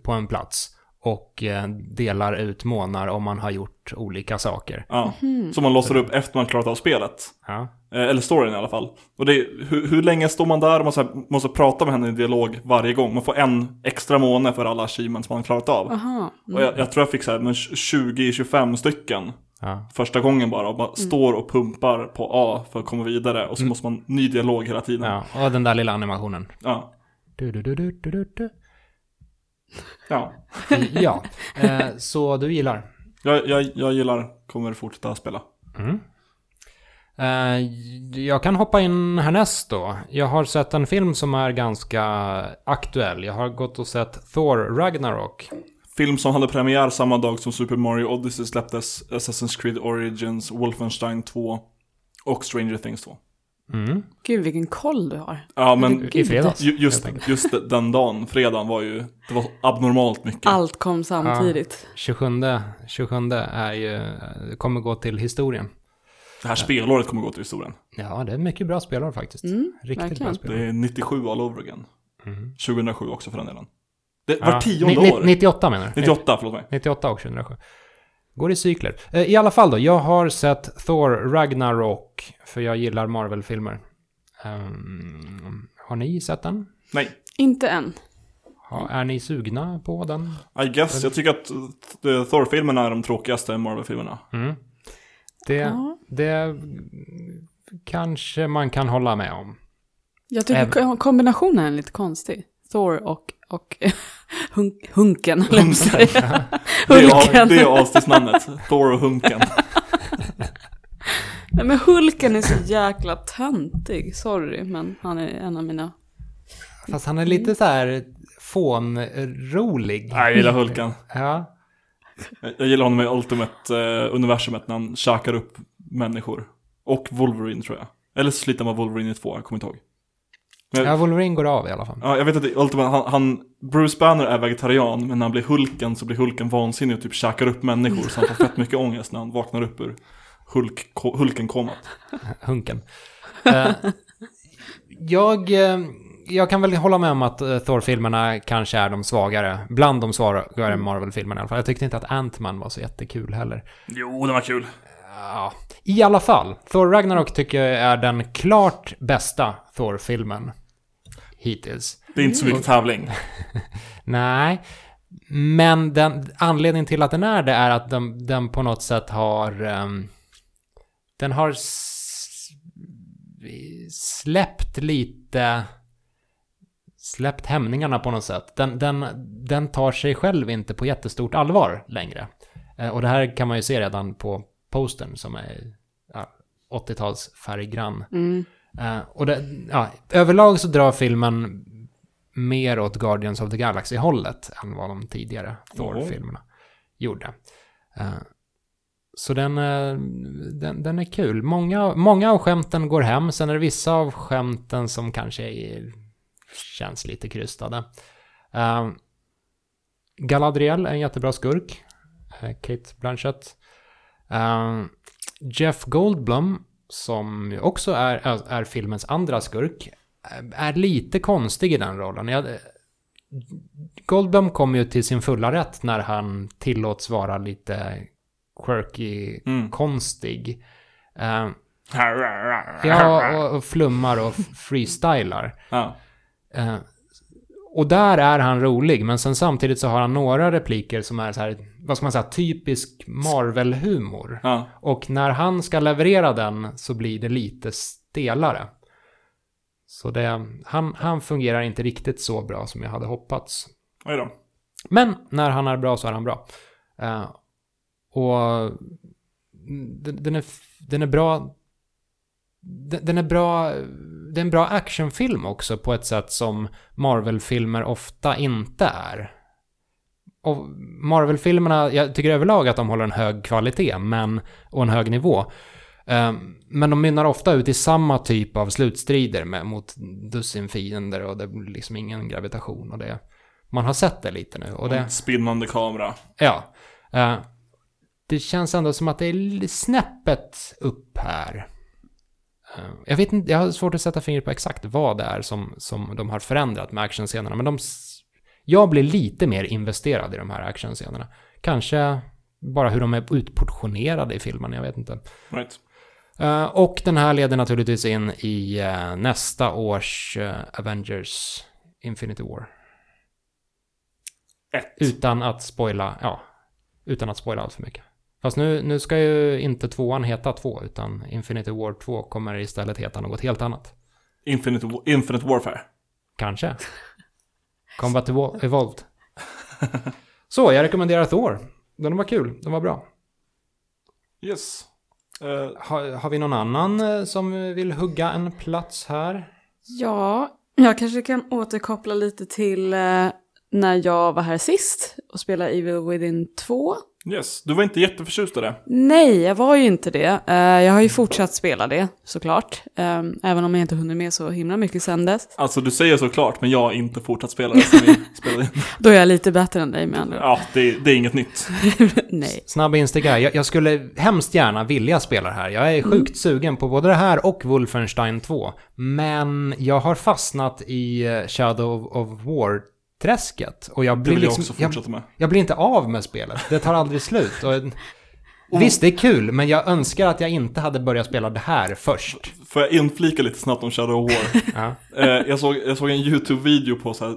på en plats och eh, delar ut månar om man har gjort olika saker.
Ja. Som man låser upp efter man klarat av spelet.
Ja.
Eh, Eller storyn i alla fall. Och det är, hur, hur länge står man där och man så här, måste prata med henne i dialog varje gång? Man får en extra månad för alla achievements man har klarat av.
Aha. Mm.
Och jag, jag tror jag fick så här, men 20-25 stycken
Ja.
första gången bara. Och bara står och pumpar på A för att komma vidare. Och så måste man ny dialog hela tiden. Ja.
ja, och den där lilla animationen.
Ja.
Du, du, du, du, du, du, du.
ja.
Ja, eh, så du gillar.
Jag, jag, jag gillar, kommer fortsätta spela.
Mm. Eh, jag kan hoppa in härnäst då. Jag har sett en film som är ganska aktuell. Jag har gått och sett Thor Ragnarok.
Film som hade premiär samma dag som Super Mario Odyssey släpptes, Assassin's Creed Origins, Wolfenstein 2 och Stranger Things 2.
Mm.
Gud, vilken koll du har.
Ja, men
I fredags.
Ju- Just,
helt enkelt.
just den dagen, fredagen var ju, det var abnormalt mycket.
Allt kom samtidigt.
27, 27 är ju, kommer gå till historien.
Det här spelåret kommer gå till historien.
Ja, det är mycket bra spelare faktiskt.
Mm,
Riktigt bra
verkligen.
spelare.
Det är 97 all over again. 2007 också för den delen. Det
Mm. Ja,
var tionde
ni- ni-
år.
98 menar du?
98, förlåt mig.
98 och 2007. Går i cykler. Eh, I alla fall då, jag har sett Thor Ragnarok, för jag gillar Marvel-filmer. Ehm, har ni sett den?
Nej,
Inte än.
Ha, är ni sugna på den?
I guess. Jag tycker att eh, Thor-filmerna är de tråkigaste Marvel-filmerna.
Mm. Det,
Ja.
det kanske man kan hålla med om.
Jag tycker ko- kombinationen är lite konstig. Thor och, och hun, Hunken, höll jag på att säga.
Det är,
Hulken.
det är avsnittsnamnet. Thor och Hunken.
Nej, men Hulken är så jäkla töntig. Sorry, men han är en av mina...
Fast han är lite så här fånrolig.
Nej, jag gillar Hulken.
Ja.
Jag jag gillar honom i Ultimate-universumet när han käkar upp människor. Och Wolverine tror jag. Eller så sliter man Wolverine i två, jag kommer inte ihåg.
Ja, Wolverine går av i alla fall.
Ja, jag vet att det- Ultimate, han, han, Bruce Banner är vegetarian, men när han blir Hulken så blir Hulken vansinnig och typ käkar upp människor så han får fett mycket ångest när han vaknar upp ur Hulk, Hulken-komat.
Hunken. Eh, Jag, eh, jag kan väl hålla med om att eh, Thor-filmerna kanske är de svagare. Bland de svagare Marvel-filmerna i alla fall. Jag tyckte inte att Ant-Man var så jättekul heller.
Jo, den var kul.
Ja, I alla fall, Thor Ragnarok tycker jag är den klart bästa Thor-filmen hittills.
Det är inte så mycket tävling.
Nej, men den, anledningen till att den är det är att den, den på något sätt har... ehm, den har s- släppt lite... Släppt hämningarna på något sätt. Den, den, den tar sig själv inte på jättestort allvar längre. Eh, Och det här kan man ju se redan på postern som är ja, 80-tals färggrann. Eh, och det, ja, överlag så drar filmen mer åt Guardians of the Galaxy-hållet än vad de tidigare Thor-filmerna gjorde. Eh, så den, eh, den, den är kul. Många, många av skämten går hem, sen är det vissa av skämten som kanske är, känns lite krystade. Eh, Galadriel är en jättebra skurk. Eh, Kate Blanchett. Eh, Jeff Goldblum, som ju också är, är, är filmens andra skurk, eh, är lite konstig i den rollen. Jag, Goldblum kommer ju till sin fulla rätt när han tillåts vara lite quirky,
Mm.
konstig. Eh, ja, och, och flummar och f- freestylar.
Ja.
Eh, och där är han rolig, men sen samtidigt så har han några repliker som är så här, vad ska man säga, typisk Marvel-humor.
Ja.
Och när han ska leverera den så blir det lite stelare. Så det, han, han fungerar inte riktigt så bra som jag hade hoppats.
Oj då.
Men när han är bra så är han bra. Eh, och den, den, är, f- den är bra. Den, den är bra. Det är en bra actionfilm också på ett sätt som Marvel-filmer ofta inte är. Och Marvel-filmerna, jag tycker överlag att de håller en hög kvalitet men, och en hög nivå. Eh, Men de mynnar ofta ut i samma typ av slutstrider med, mot dussin fiender och det blir liksom ingen gravitation och det. Man har sett det lite nu och det...
Spinnande kamera.
Ja. Eh, det känns ändå som att det är l- snäppet upp här. Eh, jag vet inte, jag har svårt att sätta fingret på exakt vad det är som, som de har förändrat med actionscenerna, men de... s- Jag blir lite mer investerad i de här actionscenerna. Kanske bara hur de är utportionerade i filmen, jag vet inte.
Right.
Eh, och den här leder naturligtvis in i eh, nästa års eh, Avengers Infinity War.
Ett.
Utan att spoila, ja. Utan att spoila allt för mycket. Fast nu, nu ska ju inte tvåan heta två, utan Infinity War 2 kommer istället heta något helt annat.
Infinite, Wa- Infinite Warfare.
Kanske. Combat Evo- Evolved. Så, jag rekommenderar Thor. Den var kul, den var bra.
Yes. Eh,
Har, har vi någon annan eh, som vill hugga en plats här?
Ja, jag kanske kan återkoppla lite till eh, när jag var här sist och spelade Evil Within 2.
yes. Du var inte jätteförtjust i det.
Nej, jag var ju inte det. Eh, jag har ju fortsatt spela det såklart. Eh, även om jag inte hunnit med så himla mycket sen dess.
Alltså du säger såklart, men jag har inte fortsatt spela det sen vi spelade in.
Då är jag lite bättre än dig med andra ord.
Ja, det, det är inget nytt.
Nej.
Snabb instick här. Jag, jag skulle hemskt gärna vilja spela det här. Jag är sjukt sugen på både det här och Wolfenstein 2. Men jag har fastnat i eh, Shadow of War-träsket. Och jag
Det
blir,
vill jag
liksom,
också
jag,
fortsätta med.
jag blir inte av med spelet. Det tar aldrig slut. Och, Visst, det är kul, men jag önskar att jag inte hade börjat spela det här först.
Får jag inflika lite snabbt om Shadow of War?
Ja.
Eh, jag, såg, jag såg en YouTube-video på så här,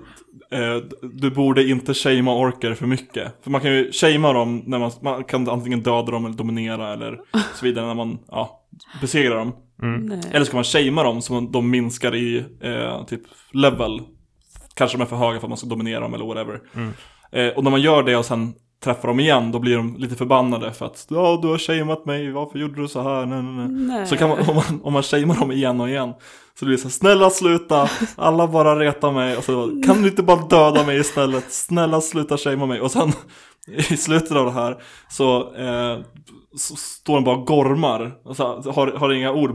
eh, du borde inte shamea orker för mycket. För man kan ju shamea dem när man, man kan antingen döda dem eller dominera eller så vidare när man, ja, besegrar dem.
Nej.
Mm.
Eller så kan man shamea dem så man- de minskar i eh, typ level. Kanske de är för höga för att man ska dominera dem eller whatever.
Mm.
Eh, och när man gör det och sen träffar dem igen, då blir de lite förbannade för att ja, du har shameat mig, varför gjorde du så här? Nej, nej, nej.
Nej.
Så kan man, om man, om man shamear dem igen och igen Så det blir så här, snälla sluta, alla bara retar mig och så bara, kan du inte bara döda mig istället? Snälla sluta shamea mig och sen i slutet av det här så, eh, så står den bara och gormar och så här, har, har inga ord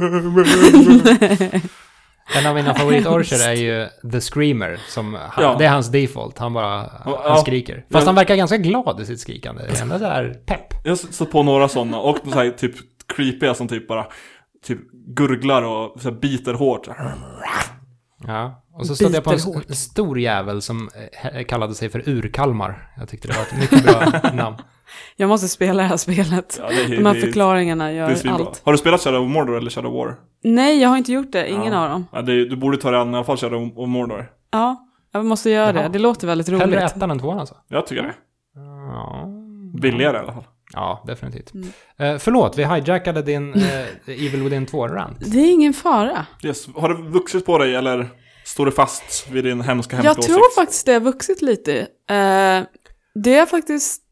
bara
En av mina favoritorcher är ju The Screamer. Som han,
Ja.
Det är hans default. Han bara
Ja.
han skriker. Fast
Ja.
han verkar ganska glad i sitt skrikande. Det är ändå så här pepp.
Jag har stött på några sådana och så här, typ creepiga som typ bara typ gurglar och så här, biter hårt.
Ja. Och så stötte jag på en
Biter
s- stor jävel som eh, kallade sig för Urkalmar. Jag tyckte det var ett mycket bra namn.
Jag måste spela det här spelet.
Ja, det, är-
De här
det är-
förklaringarna
det är
gör
svinbra.
allt.
Har du spelat Shadow of Mordor eller Shadow War?
Nej, jag har inte gjort det. Ingen
Ja.
av dem.
Ja, det, är- du borde ta dig an i alla fall Shadow of Mordor.
Ja, jag måste göra
Jaha.
det. Det låter väldigt
Hellre
roligt.
ettan än tvåan alltså.
Jag tycker det.
Ja.
Billigare i alla fall.
Ja, definitivt.
Mm.
Eh, förlåt, vi hijackade din eh, Evil Within 2-rant.
Det är ingen fara.
Yes. Har det vuxit på dig eller står du fast vid din hemska, hemska
Jag tror faktiskt det har vuxit lite. Eh, det är faktiskt...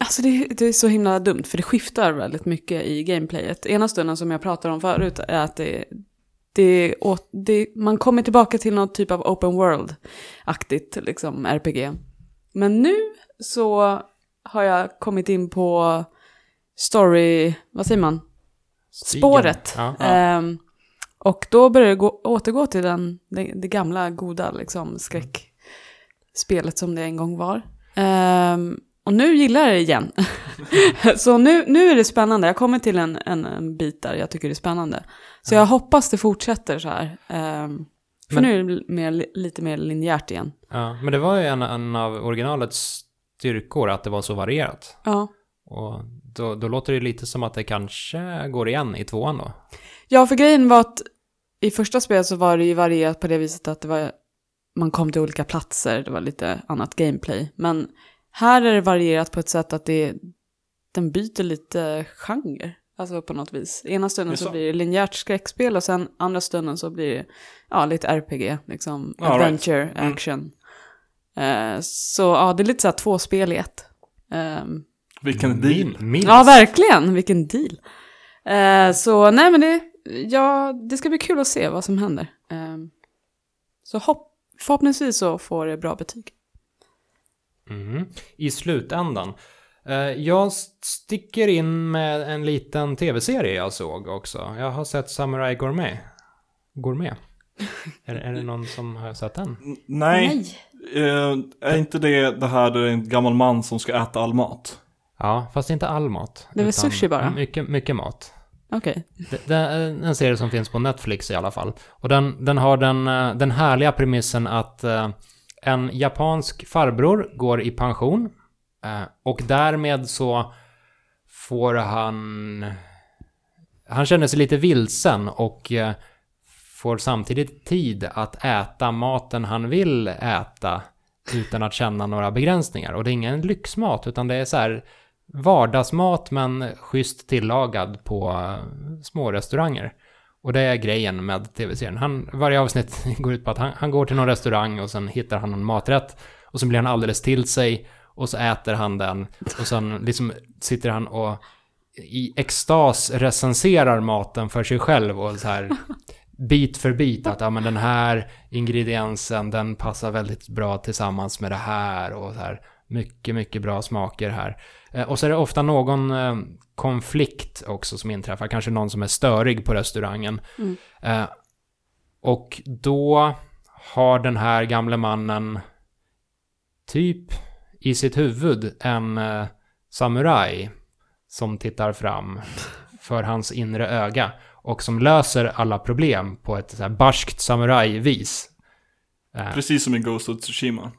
Alltså det, det är så himla dumt, för det skiftar väldigt mycket i gameplayet. Ena stunden som jag pratade om förut är att det, det, åt, det, man kommer tillbaka till någon typ av open world-aktigt liksom, RPG. Men nu så har jag kommit in på story... Vad säger man?
Stigen.
Spåret.
Ja.
Ja.
Ehm, och då börjar det gå, återgå till den, det, det gamla goda liksom, skräckspelet som det en gång var. Ehm, och nu gillar jag det igen. så nu, nu är det spännande. Jag kommer till en, en, en bit där jag tycker det är spännande. Så jag hoppas det fortsätter så här. Ehm, för
Men-
nu är det mer, lite mer linjärt igen.
Ja, men det var ju en, en av originalets styrkor att det var så varierat.
Ja.
Och då, då låter det ju lite som att det kanske går igen i tvåan då.
Ja, för grejen var att i första spelet så var det ju varierat på det viset att det var, man kom till olika platser, det var lite annat gameplay. Men här är det varierat på ett sätt att det, den byter lite genre, alltså på något vis. Ena stunden
Jaså?
så blir det linjärt skräckspel och sen andra stunden så blir det ja, lite RPG, liksom
All right.
adventure,
Mm.
action. Eh, så ja, det är lite så här två spel i ett. Ehm,
Vilken
Min-
deal.
Minst.
Ja, verkligen. Vilken deal. Eh, så nej, men det, ja, det ska bli kul att se vad som händer. Eh, så hopp, förhoppningsvis så får det bra betyg.
Mhm. I slutändan. Eh, Jag s- sticker in med en liten tv-serie jag såg också. Jag har sett Samurai Gourmet. Gourmet. är, är det någon som har sett den?
N- Nej. Eh, är inte det det här där det är en gammal man som ska äta all mat?
Ja, fast inte all mat.
Det är väl
utan
sushi bara?
Mycket, mycket mat.
Okej.
Det, det är en serie som finns på Netflix i alla fall. Och den, den har den, eh, den härliga premissen att eh, en japansk farbror går i pension eh, och därmed så får han... Han känner sig lite vilsen och eh, får samtidigt tid att äta maten han vill äta utan att känna några begränsningar. Och det är ingen lyxmat utan det är så här vardagsmat men schysst tillagad på eh, små restauranger. Och det är grejen med tv-serien. Han, varje avsnitt går ut på att han, han går till någon restaurang och sen hittar han någon maträtt och sen blir han alldeles till sig och så äter han den och sen liksom sitter han och i extas recenserar maten för sig själv och så här bit för bit att ja, men den här ingrediensen den passar väldigt bra tillsammans med det här och så här mycket, mycket bra smaker här. Eh, Och så är det ofta någon eh, konflikt också som inträffar, kanske någon som är störig på restaurangen.
Mm.
Eh, Och då har den här gamle mannen typ i sitt huvud en eh, samuraj som tittar fram för hans inre öga och som löser alla problem på ett så här barskt samurajvis. Eh,
Precis som i Ghost of Tsushima.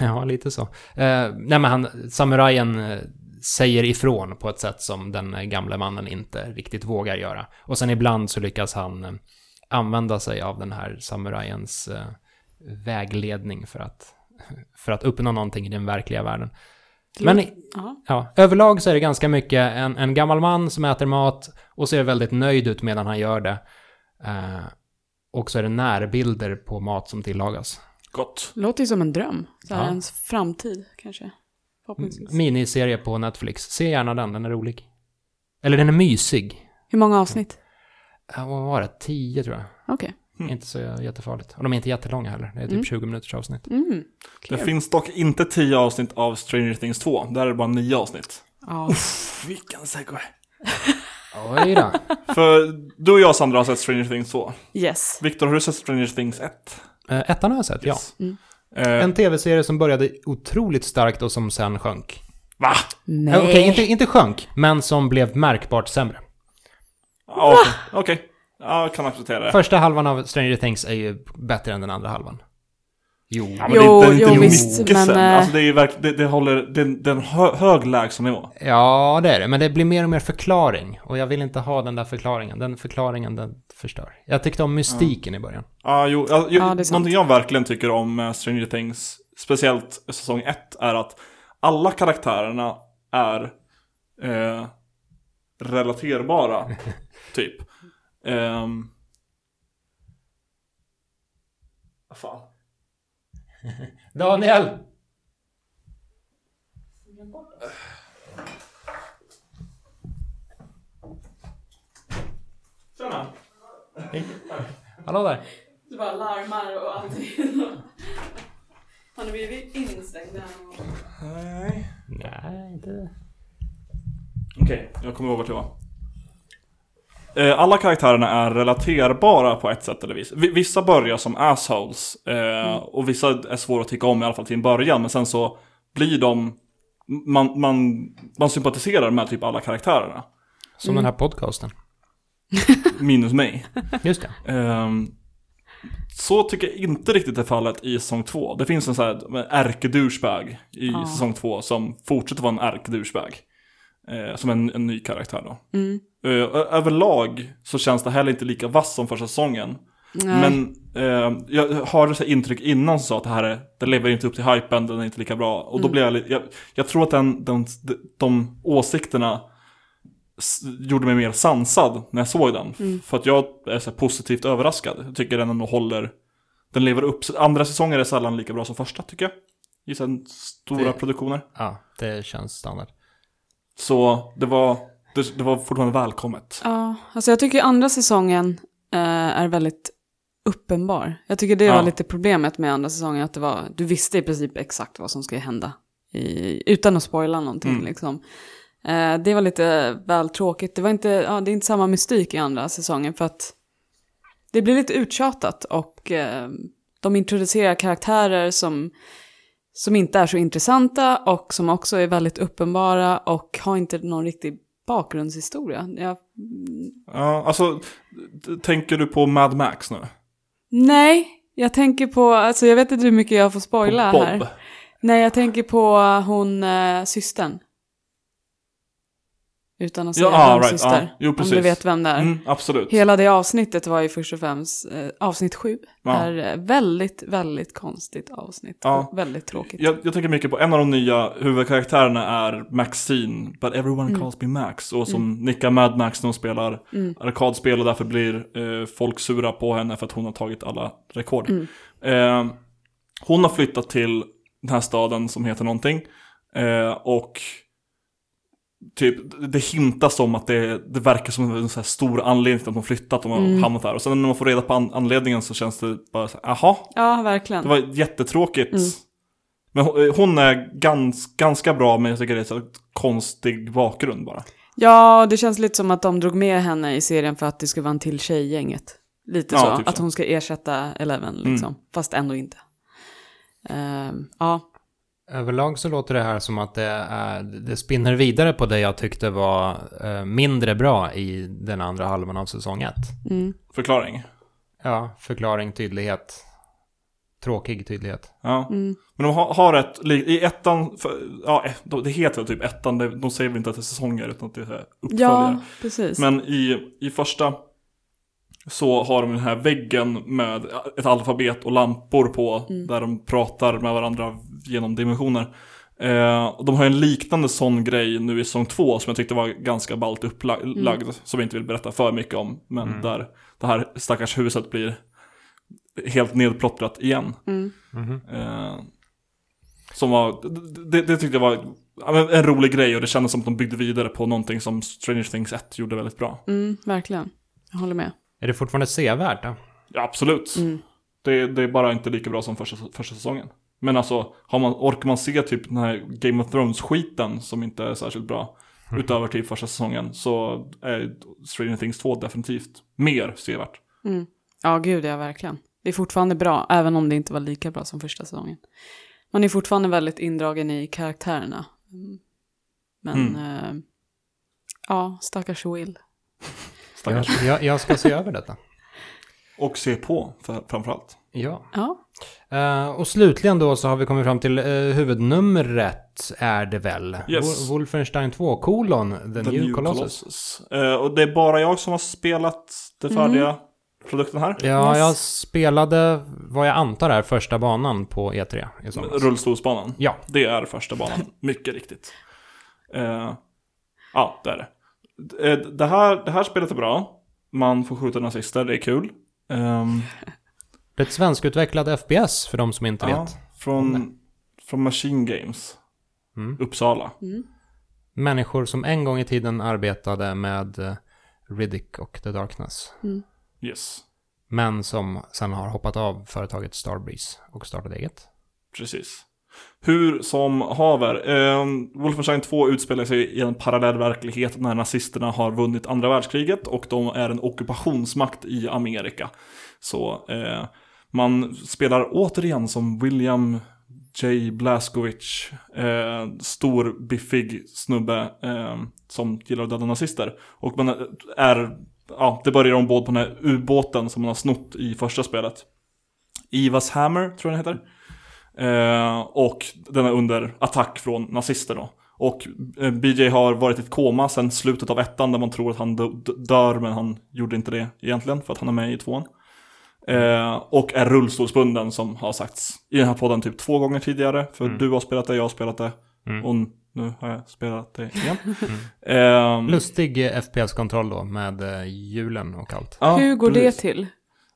Ja, lite så. Eh, nej, men han, samurajen eh, säger ifrån på ett sätt som den eh, gamle mannen inte riktigt vågar göra. Och sen ibland så lyckas han eh, använda sig av den här samurajens eh, vägledning för att, för att uppnå någonting i den verkliga världen. Men i-
Ja.
ja, överlag så är det ganska mycket en, en gammal man som äter mat och ser väldigt nöjd ut medan han gör det. Eh, och så är det närbilder på mat som tillagas.
Gott.
Låter ju som en dröm. Så här,
Ja.
Ens framtid kanske. Förhoppningsvis.
Miniserie på Netflix. Se gärna den, den är rolig. Eller den är mysig.
Hur många avsnitt?
Ja, vad var det? 10 tror jag.
Okej.
Inte så jättefarligt. Och de är inte jättelånga heller. Det är typ
Hm. Mm.
20 minuters avsnitt.
Mm.
Det
Kul.
finns dock inte tio avsnitt av Stranger Things 2. Där är det bara nio avsnitt.
Ja.
Vilken segway.
Oj då.
För du och jag Sandra har sett Stranger Things 2.
Yes.
Viktor, har du sett Stranger Things 1?
Eh, Ettan har jag sett,
Yes.
Mm.
ja.
Eh,
En tv-serie som började otroligt starkt och som sen sjönk.
va?
Nej.
Eh, Okej, inte, inte sjönk, men som blev märkbart sämre.
Ja, okej. okej. Ja, jag kan acceptera det.
Första halvan av Stranger Things är ju bättre än den andra halvan. Jo.
Ja, men det-
Jo,
den är inte
jo,
mycket
visst,
sen.
men, eh,
Alltså det är ju verkligen, det, det håller, det, det är en hö, hög lägstanivå.
Ja, det är det. Men det blir mer och mer förklaring. Och jag vill inte ha den där förklaringen. Den förklaringen, den förstör. Jag tyckte om mystiken i början.
Ja, jo, ja, jo,
Ja, det är sant.
någonting jag verkligen tycker om eh, Stranger Things, speciellt säsong 1, är att alla karaktärerna är eh, relaterbara, typ. Ehm. Vad fan.
Daniel!
Tjena!
Hallå där.
Du bara larmar och allting. Har ni blivit instängda?
Hej.
Nej, inte...
Okej, jag kommer ihåg vart jag var. Eh, Alla karaktärerna är relaterbara på ett sätt eller vis. Vi- Vissa börjar som assholes eh, och vissa är svåra att tycka om i alla fall till en början. Men sen så blir de, man, man, man sympatiserar med typ alla karaktärerna.
Som den här podcasten.
Minus mig.
Just det.
Ehm, så tycker jag inte riktigt är fallet i säsong två. Det finns en sån här ärkedouchebag i
Ja.
säsong två som fortsätter vara en ärkedouchebag. Eh, som en, en ny karaktär då.
Mm.
Eh, ö- överlag så känns det heller inte lika vass som första säsongen.
Nej.
Men eh, jag har så här intryck innan som sa att det här är, den lever inte upp till hypen, den är inte lika bra. Och då
Mm.
blev jag, li- jag jag tror att den, den, de, de åsikterna s- gjorde mig mer sansad när jag såg den.
Mm.
För att jag är så här positivt överraskad. Jag tycker den ändå håller, den lever upp. Andra säsonger är sällan lika bra som första tycker jag. I sen stora
Det-
produktioner.
Ja, det känns standard.
Så det var, det, det var fortfarande välkommet.
Ja, alltså jag tycker andra säsongen eh, är väldigt uppenbar. Jag tycker det
Ja.
var lite problemet med andra säsongen, att det var, du visste i princip exakt vad som skulle hända. I, utan att spoila någonting
Mm.
liksom. Eh, det var lite väl tråkigt. Det, var inte, ja, det är inte samma mystik i andra säsongen för att det blir lite uttjatat och eh, de introducerar karaktärer som, som inte är så intressanta och som också är väldigt uppenbara och har inte någon riktig bakgrundshistoria. Jag
Ja, alltså, t- tänker du på Mad Max nu?
Nej, jag tänker på, alltså jag vet inte hur mycket jag får
På
spoila
Bob?
här. Nej, jag tänker på hon, eh, systern. Utan att säga
Ja,
vem
ah, right,
syster.
ah, jo,
Om
precis.
du vet vem det är.
Mm, absolut.
Hela det avsnittet var ju först och främst, eh, avsnitt sju,
Ja.
är eh, väldigt, väldigt konstigt avsnitt.
Ja.
Och väldigt tråkigt.
Jag, jag tänker mycket på en av de nya huvudkaraktärerna är Maxine, but everyone calls me Max. Och som nickar Mad Max när hon spelar arkadspel och därför blir eh, folk sura på henne för att hon har tagit alla rekord. Eh, hon har flyttat till den här staden som heter någonting. Eh, och typ, det hintas om att det, det verkar som en så här stor anledning till att de flyttat, de har hamnat där. Och sen när man får reda på an- anledningen så känns det bara så här, aha,
Ja, verkligen.
det var jättetråkigt. Men hon- hon är gans, ganska bra, men jag tycker det är så här konstig bakgrund bara.
Ja, det känns lite som att de drog med henne i serien för att det skulle vara en till tjej i gänget. Lite
Ja,
så,
typ
att
så. Mm.
hon ska ersätta Eleven liksom, fast ändå inte. Ehm, ja,
Överlag så låter det här som att det, är, det spinner vidare på det jag tyckte var eh, mindre bra i den andra halvan av säsong ett.
Förklaring.
Ja, förklaring, tydlighet. Tråkig tydlighet.
Ja. Men de har, har ett, li- i ettan, för, ja eh, de- det heter väl typ ettan, det- de säger väl inte att det är säsonger utan att det är så här uppföljare.
ja precis.
Men i, i första så har de den här väggen med ett alfabet och lampor på där de pratar med varandra genom dimensioner. Eh, och de har en liknande sån grej nu i säsong två som jag tyckte var ganska ballt upplagd, som jag inte vill berätta för mycket om, men där det här stackars huset blir helt nedplottrat igen.
Mhm.
Eh, som var, det, det tyckte jag var ja, men en rolig grej och det kändes som att de byggde vidare på någonting som Stranger Things 1 gjorde väldigt bra.
Mm, verkligen. Jag håller med.
Är det fortfarande sevärt? Då?
Ja, absolut.
Mm.
Det, det är bara inte lika bra som första, första säsongen. Men alltså, har man, orkar man se typ den här Game of Thrones-skiten som inte är särskilt bra
Mm.
utöver typ första säsongen så är Stranger Things 2 definitivt mer sevärt.
Mm. Ja, gud ja, verkligen. Det är fortfarande bra, även om det inte var lika bra som första säsongen. Man är fortfarande väldigt indragen i karaktärerna.
Mm.
Mm. Men, eh, ja, stackars Will.
Jag,
stackars.
jag, jag ska se över detta.
Och se på, för, framförallt.
Ja.
Ja,
Eh, och slutligen då så har vi kommit fram till eh, huvudnumret är det väl?
Yes.
Wo- Wolfenstein 2, kolon, The, New, Colossus.
Eh, och det är bara jag som har spelat det färdiga produkten här.
Mm. Ja,
Yes.
jag spelade vad jag antar är första banan på E3 i somras.
Rullstolsbanan.
Ja,
Det är första banan, mycket riktigt. Eh, ja, det är det. D- eh, Det här, det här spelet är bra. Man får skjuta nazister, det är kul. Ehm,
det är ett svenskutvecklad FPS för de som inte
ja,
vet.
från, från Machine Games,
Mm.
Uppsala.
Människor som en gång i tiden arbetade med eh, Riddick och The Darkness.
Yes,
Men som sen har hoppat av företaget Starbreeze och startat eget.
precis. Hur som haver. Um, Wolfenstein 2 utspelar sig i en parallell verklighet när nazisterna har vunnit andra världskriget och de är en ockupationsmakt i Amerika. Så eh, man spelar återigen som William J. Blaskowicz. Eh, stor, biffig snubbe eh, som gillar att döda nazister. Och man är, ja, det börjar ombord på den här ubåten som man har snott i första spelet. Ivas Hammer, tror jag den heter. Eh, och den är under attack från nazister då. Och eh, BJ har varit i ett koma sedan slutet av ettan där man tror att han dö- dö- dör men han gjorde inte det egentligen för att han är med i tvåan. Eh, och är rullstolsbunden som har sagts i den här podden typ två gånger tidigare. För du har spelat det, jag har spelat det
Mm.
och nu har jag spelat det igen. Eh,
Lustig eh, FPS-kontroll då med eh, hjulen och allt.
ja,
hur går
precis.
det till?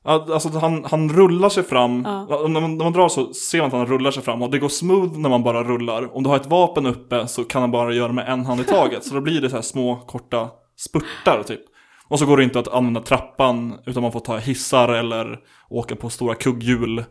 Ja, Alltså att han, han rullar sig fram,
Ja.
Ja, när, man, när man drar så ser man att han rullar sig fram och det går smooth när man bara rullar. Om du har ett vapen uppe så kan han bara göra med en hand i taget, så då blir det så här små korta spurtar typ. Och så går det inte att använda trappan utan man får ta hissar eller åka på stora kugghjul.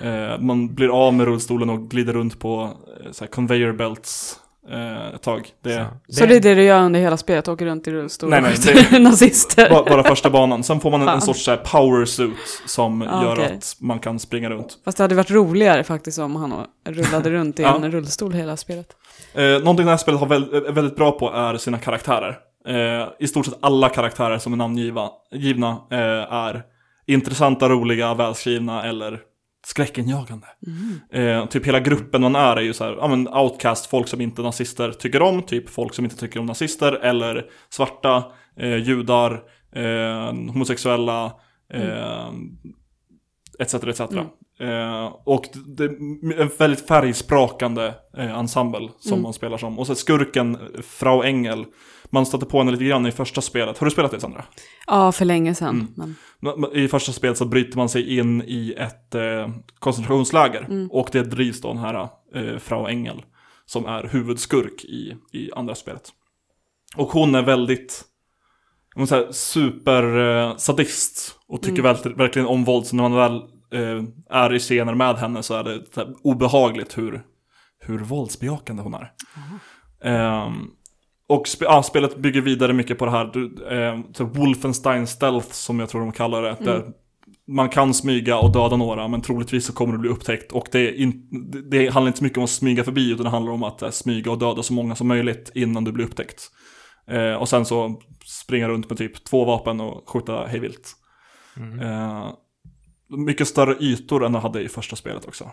Eh, man blir av med rullstolen och glider runt på eh, så här conveyor belts eh, ett tag. Det är
Så det är det du gör under hela spelet, åker runt i rullstol
Nej,
och
nej,
skjuter nazister?
ba- bara första banan. Sen får man en,
Fan.
en sorts så här power suit som
Ja,
gör
okej.
att man kan springa runt.
Fast det hade varit roligare faktiskt om han rullade runt i
Ja.
en rullstol hela spelet.
Eh, någonting det här spelet har väl, är väldigt bra på är sina karaktärer. Eh, I stort sett alla karaktärer som är namngivna givna, eh, är intressanta, roliga, välskrivna eller skräckinjagande. Eh, typ hela gruppen man är är ju så här, ja men outcast, folk som inte nazister tycker om, typ folk som inte tycker om nazister, eller svarta, eh, judar, eh, homosexuella, eh, etc. etc. Eh, och det är en väldigt färgsprakande eh, ensemble som man spelar som. Och så skurken, eh, Frau Engel, man stötte på henne lite grann i första spelet. Har du spelat det Sandra?
Ja, för länge sedan.
Mm.
Men,
I första spelet så bryter man sig in i ett eh, koncentrationsläger och det drivs då den här eh, Frau Engel som är huvudskurk i, i andra spelet. Och hon är väldigt om man säger, super eh, sadist och tycker väl, verkligen om våld så när man väl eh, är i scener med henne så är det så här, obehagligt hur, hur våldsbejakande hon är. Ehm, och spe, ja, spelet bygger vidare mycket på det här du, eh, så Wolfenstein Stealth som jag tror de kallar det. Där man kan smyga och döda några men troligtvis så kommer du bli upptäckt. Och det, är in, det- det handlar inte så mycket om att smyga förbi utan det handlar om att eh, smyga och döda så många som möjligt innan du blir upptäckt. Eh, och sen så springa runt med typ två vapen och skjuta hejvilt. Eh, mycket större ytor än jag hade i första spelet också.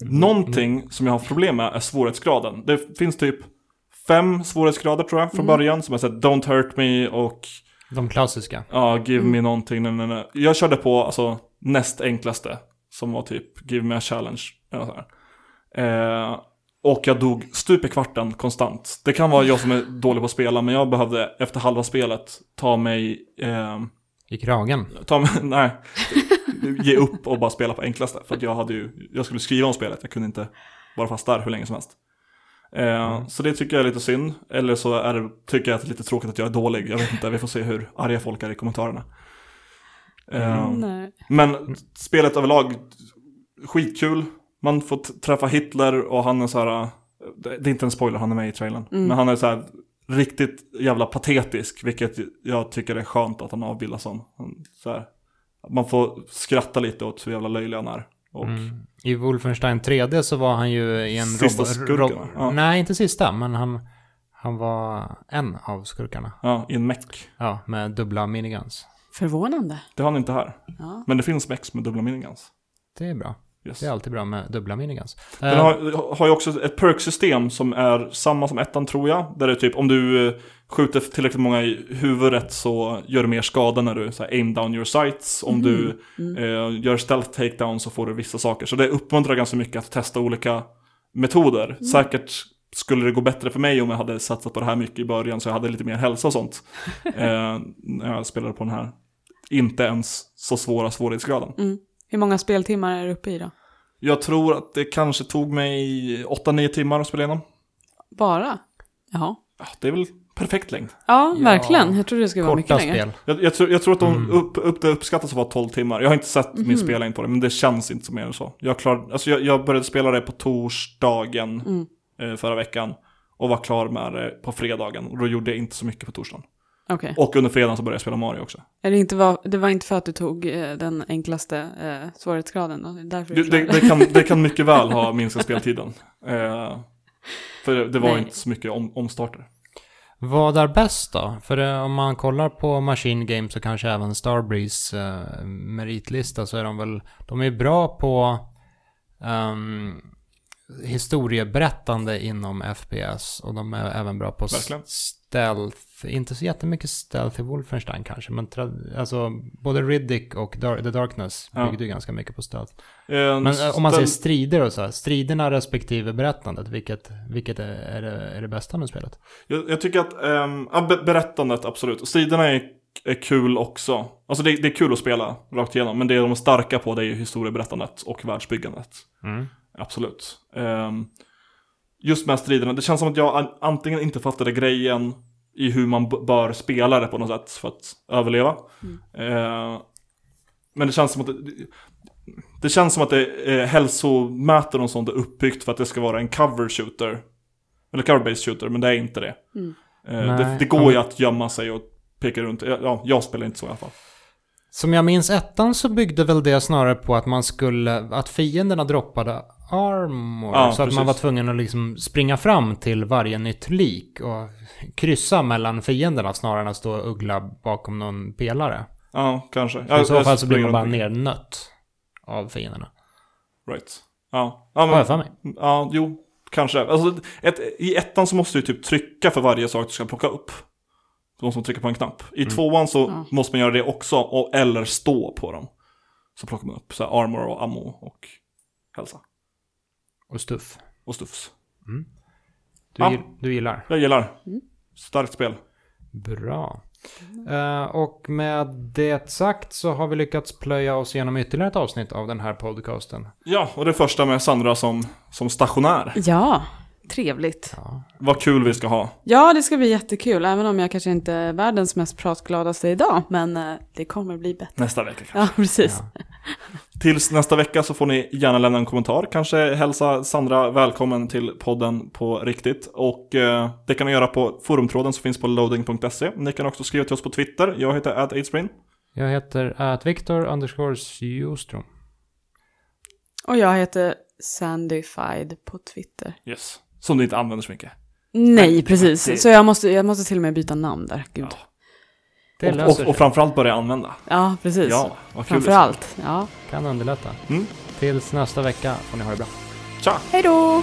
Någonting som jag har problem med är svårighetsgraden. Det finns typ fem svårighetsgrader tror jag från början. Som är såhär Don't Hurt Me och
De klassiska.
ja, Give Me någonting. Nej, nej, nej. Jag körde på alltså näst enklaste. Som var typ Give Me a Challenge. Eller så här. Eh, och jag dog stup i kvarten konstant. Det kan vara jag som är dålig på att spela. Men jag behövde efter halva spelet ta mig... ehm,
I kragen.
ta mig, nej. Ge upp och bara spela på enklaste. För att jag, hade ju, jag skulle skriva om spelet, jag kunde inte vara fast där hur länge som helst. Eh, Så det tycker jag är lite synd. Eller så är det, tycker jag att det är lite tråkigt att jag är dålig. Jag vet inte, vi får se hur arga folk är i kommentarerna.
Mm.
Eh,
nej.
Men spelet överlag, skitkul. Man får t- träffa Hitler och han är så här, eh, det det är inte en spoiler, han är med i trailern. Men han är så här riktigt jävla patetisk, vilket jag tycker är skönt att han avbildas som. Han, så här, man får skratta lite åt hur jävla löjlig han är. Och,
I Wolfenstein 3D så var han ju i en
Sista
robo-
skurken,
rob-
ja.
Nej, inte sista, men han... Han var en av skurkarna.
Ja, i en mech.
Ja, med dubbla miniguns.
Förvånande.
Det har han inte här.
Ja.
Men det finns mechs med dubbla miniguns.
Det är bra.
Yes.
Det är alltid bra med dubbla miniguns.
Den
Eh,
har, har ju också ett perk-system som är samma som ettan tror jag. Där det är typ om du eh, skjuter tillräckligt många i huvudet så gör du mer skada när du så här, aim down your sights. Om du eh, gör stealth takedown så får du vissa saker. Så det uppmuntrar ganska mycket att testa olika metoder. Säkert skulle det gå bättre för mig om jag hade satsat på det här mycket i början så jag hade lite mer hälsa och sånt. eh, när jag spelade på den här inte ens så svåra svårighetsgraden.
Mm. Hur många speltimmar är du uppe i då?
Jag tror att det kanske tog mig 8-9 timmar att spela igenom.
Bara? Jaha.
Ja, det är väl perfekt längd.
Ja,
Ja.
verkligen. Jag trodde det skulle vara mycket
korta
längre.
spel.
Jag, jag, tror, jag tror att de
Mm.
upp, upp, det uppskattas att vara 12 timmar. Jag har inte sett min
Mhm.
spellängd på det, men det känns inte som mer än så. Jag, klar, alltså jag, jag började spela det på torsdagen
Mm.
eh, förra veckan och var klar med det på fredagen. Och då gjorde jag inte så mycket på torsdagen.
Okej.
Och under fredagen så började jag spela Mario också.
Är Det, inte var, det var inte för att du tog eh, den enklaste eh, svårighetsgraden då? Det är Därför
Det,
du
det,
klarade
det, kan, det kan mycket väl ha minskat speltiden. Eh, för det, det var
Nej.
inte så mycket om, omstarter.
Vad är bäst då? För eh, om man kollar på Machine Games och kanske även Starbreeze eh, meritlista så är de väl, de är bra på ehm, historieberättande inom FPS och de är även bra på s-
Verkligen.
stealth, inte så jättemycket stealth i Wolfenstein kanske, men tra- alltså både Riddick och Dar- The Darkness
Ja.
byggde ju ganska mycket på stealth.
Eh,
Men eh, om man
den-
säger strider och så här, striderna respektive berättandet, vilket, vilket är, är, det, är det bästa med spelet?
Jag, jag tycker att ehm, ja, be- berättandet, absolut. Sidorna är, är kul också. Alltså det, det är kul att spela rakt igenom, men det de är starka på det är ju historieberättandet och världsbyggandet. Absolut. Ehm, just med striderna, det känns som att jag an- antingen inte fattade grejen i hur man b- bör spela det på något sätt för att överleva. Ehm, men det känns som att det, det känns som att det, eh, hälsomätare och sånt är uppbyggt för att det ska vara en cover shooter. Eller cover-based shooter, men det är inte det.
Mm.
Ehm, det,
Nej,
det
ja,
går ju
men-
att gömma sig och peka runt. Ja, jag spelar inte så i alla fall.
Som jag minns ettan så byggde väl det snarare på att man skulle, att fienderna droppade armor.
Ja,
så att man
precis.
var tvungen att liksom springa fram till varje nytt lik och kryssa mellan fienderna snarare än att stå och uggla bakom någon pelare.
Ja, kanske.
I så fall så blir man bara
runt.
nernött av fienderna.
Right. Ja, ja
Har
men
jag för mig.
Ja, jo, kanske. Alltså, ett, I ettan så måste du typ trycka för varje sak du ska plocka upp. Du måste trycka på en knapp.
Mm.
I tvåan så
Ja.
måste man göra det också, och, eller stå på dem. Så plockar man upp så här armor och ammo och hälsa.
Och stuff.
Och stuffs.
Du,
Ja.
gill- du gillar.
Jag gillar. Starkt spel.
Bra. Eh, och med det sagt så har vi lyckats plöja oss igenom ytterligare ett avsnitt av den här podcasten.
Ja, och det första med Sandra som, som stationär.
Ja, trevligt.
Vad kul vi ska ha.
Ja, det ska bli jättekul, även om jag kanske inte är världens mest pratgladaste idag, men eh, det kommer bli bättre.
Nästa vecka kanske.
Ja, precis.
Tills nästa vecka så får ni gärna lämna en kommentar. Kanske hälsa Sandra välkommen till podden på riktigt. Och eh, det kan ni göra på forumtråden som finns på loading.se. Ni kan också skriva till oss på Twitter. Jag heter @aidsbrain.
Jag heter att Viktor underscores Ljostrom.
Och jag heter Sandified på Twitter.
Yes. Som du inte använder så mycket.
Nej,
det-
precis. Så jag måste, jag måste till och med byta namn där. Gud.
Ja.
Det
och,
löser
och,
sig.
och framförallt börja använda.
Ja, precis.
Ja, vad kul.
Framför allt. Ja.
Kan underlätta.
Mm.
Tills nästa vecka får ni ha det bra.
Tja!
Hej då!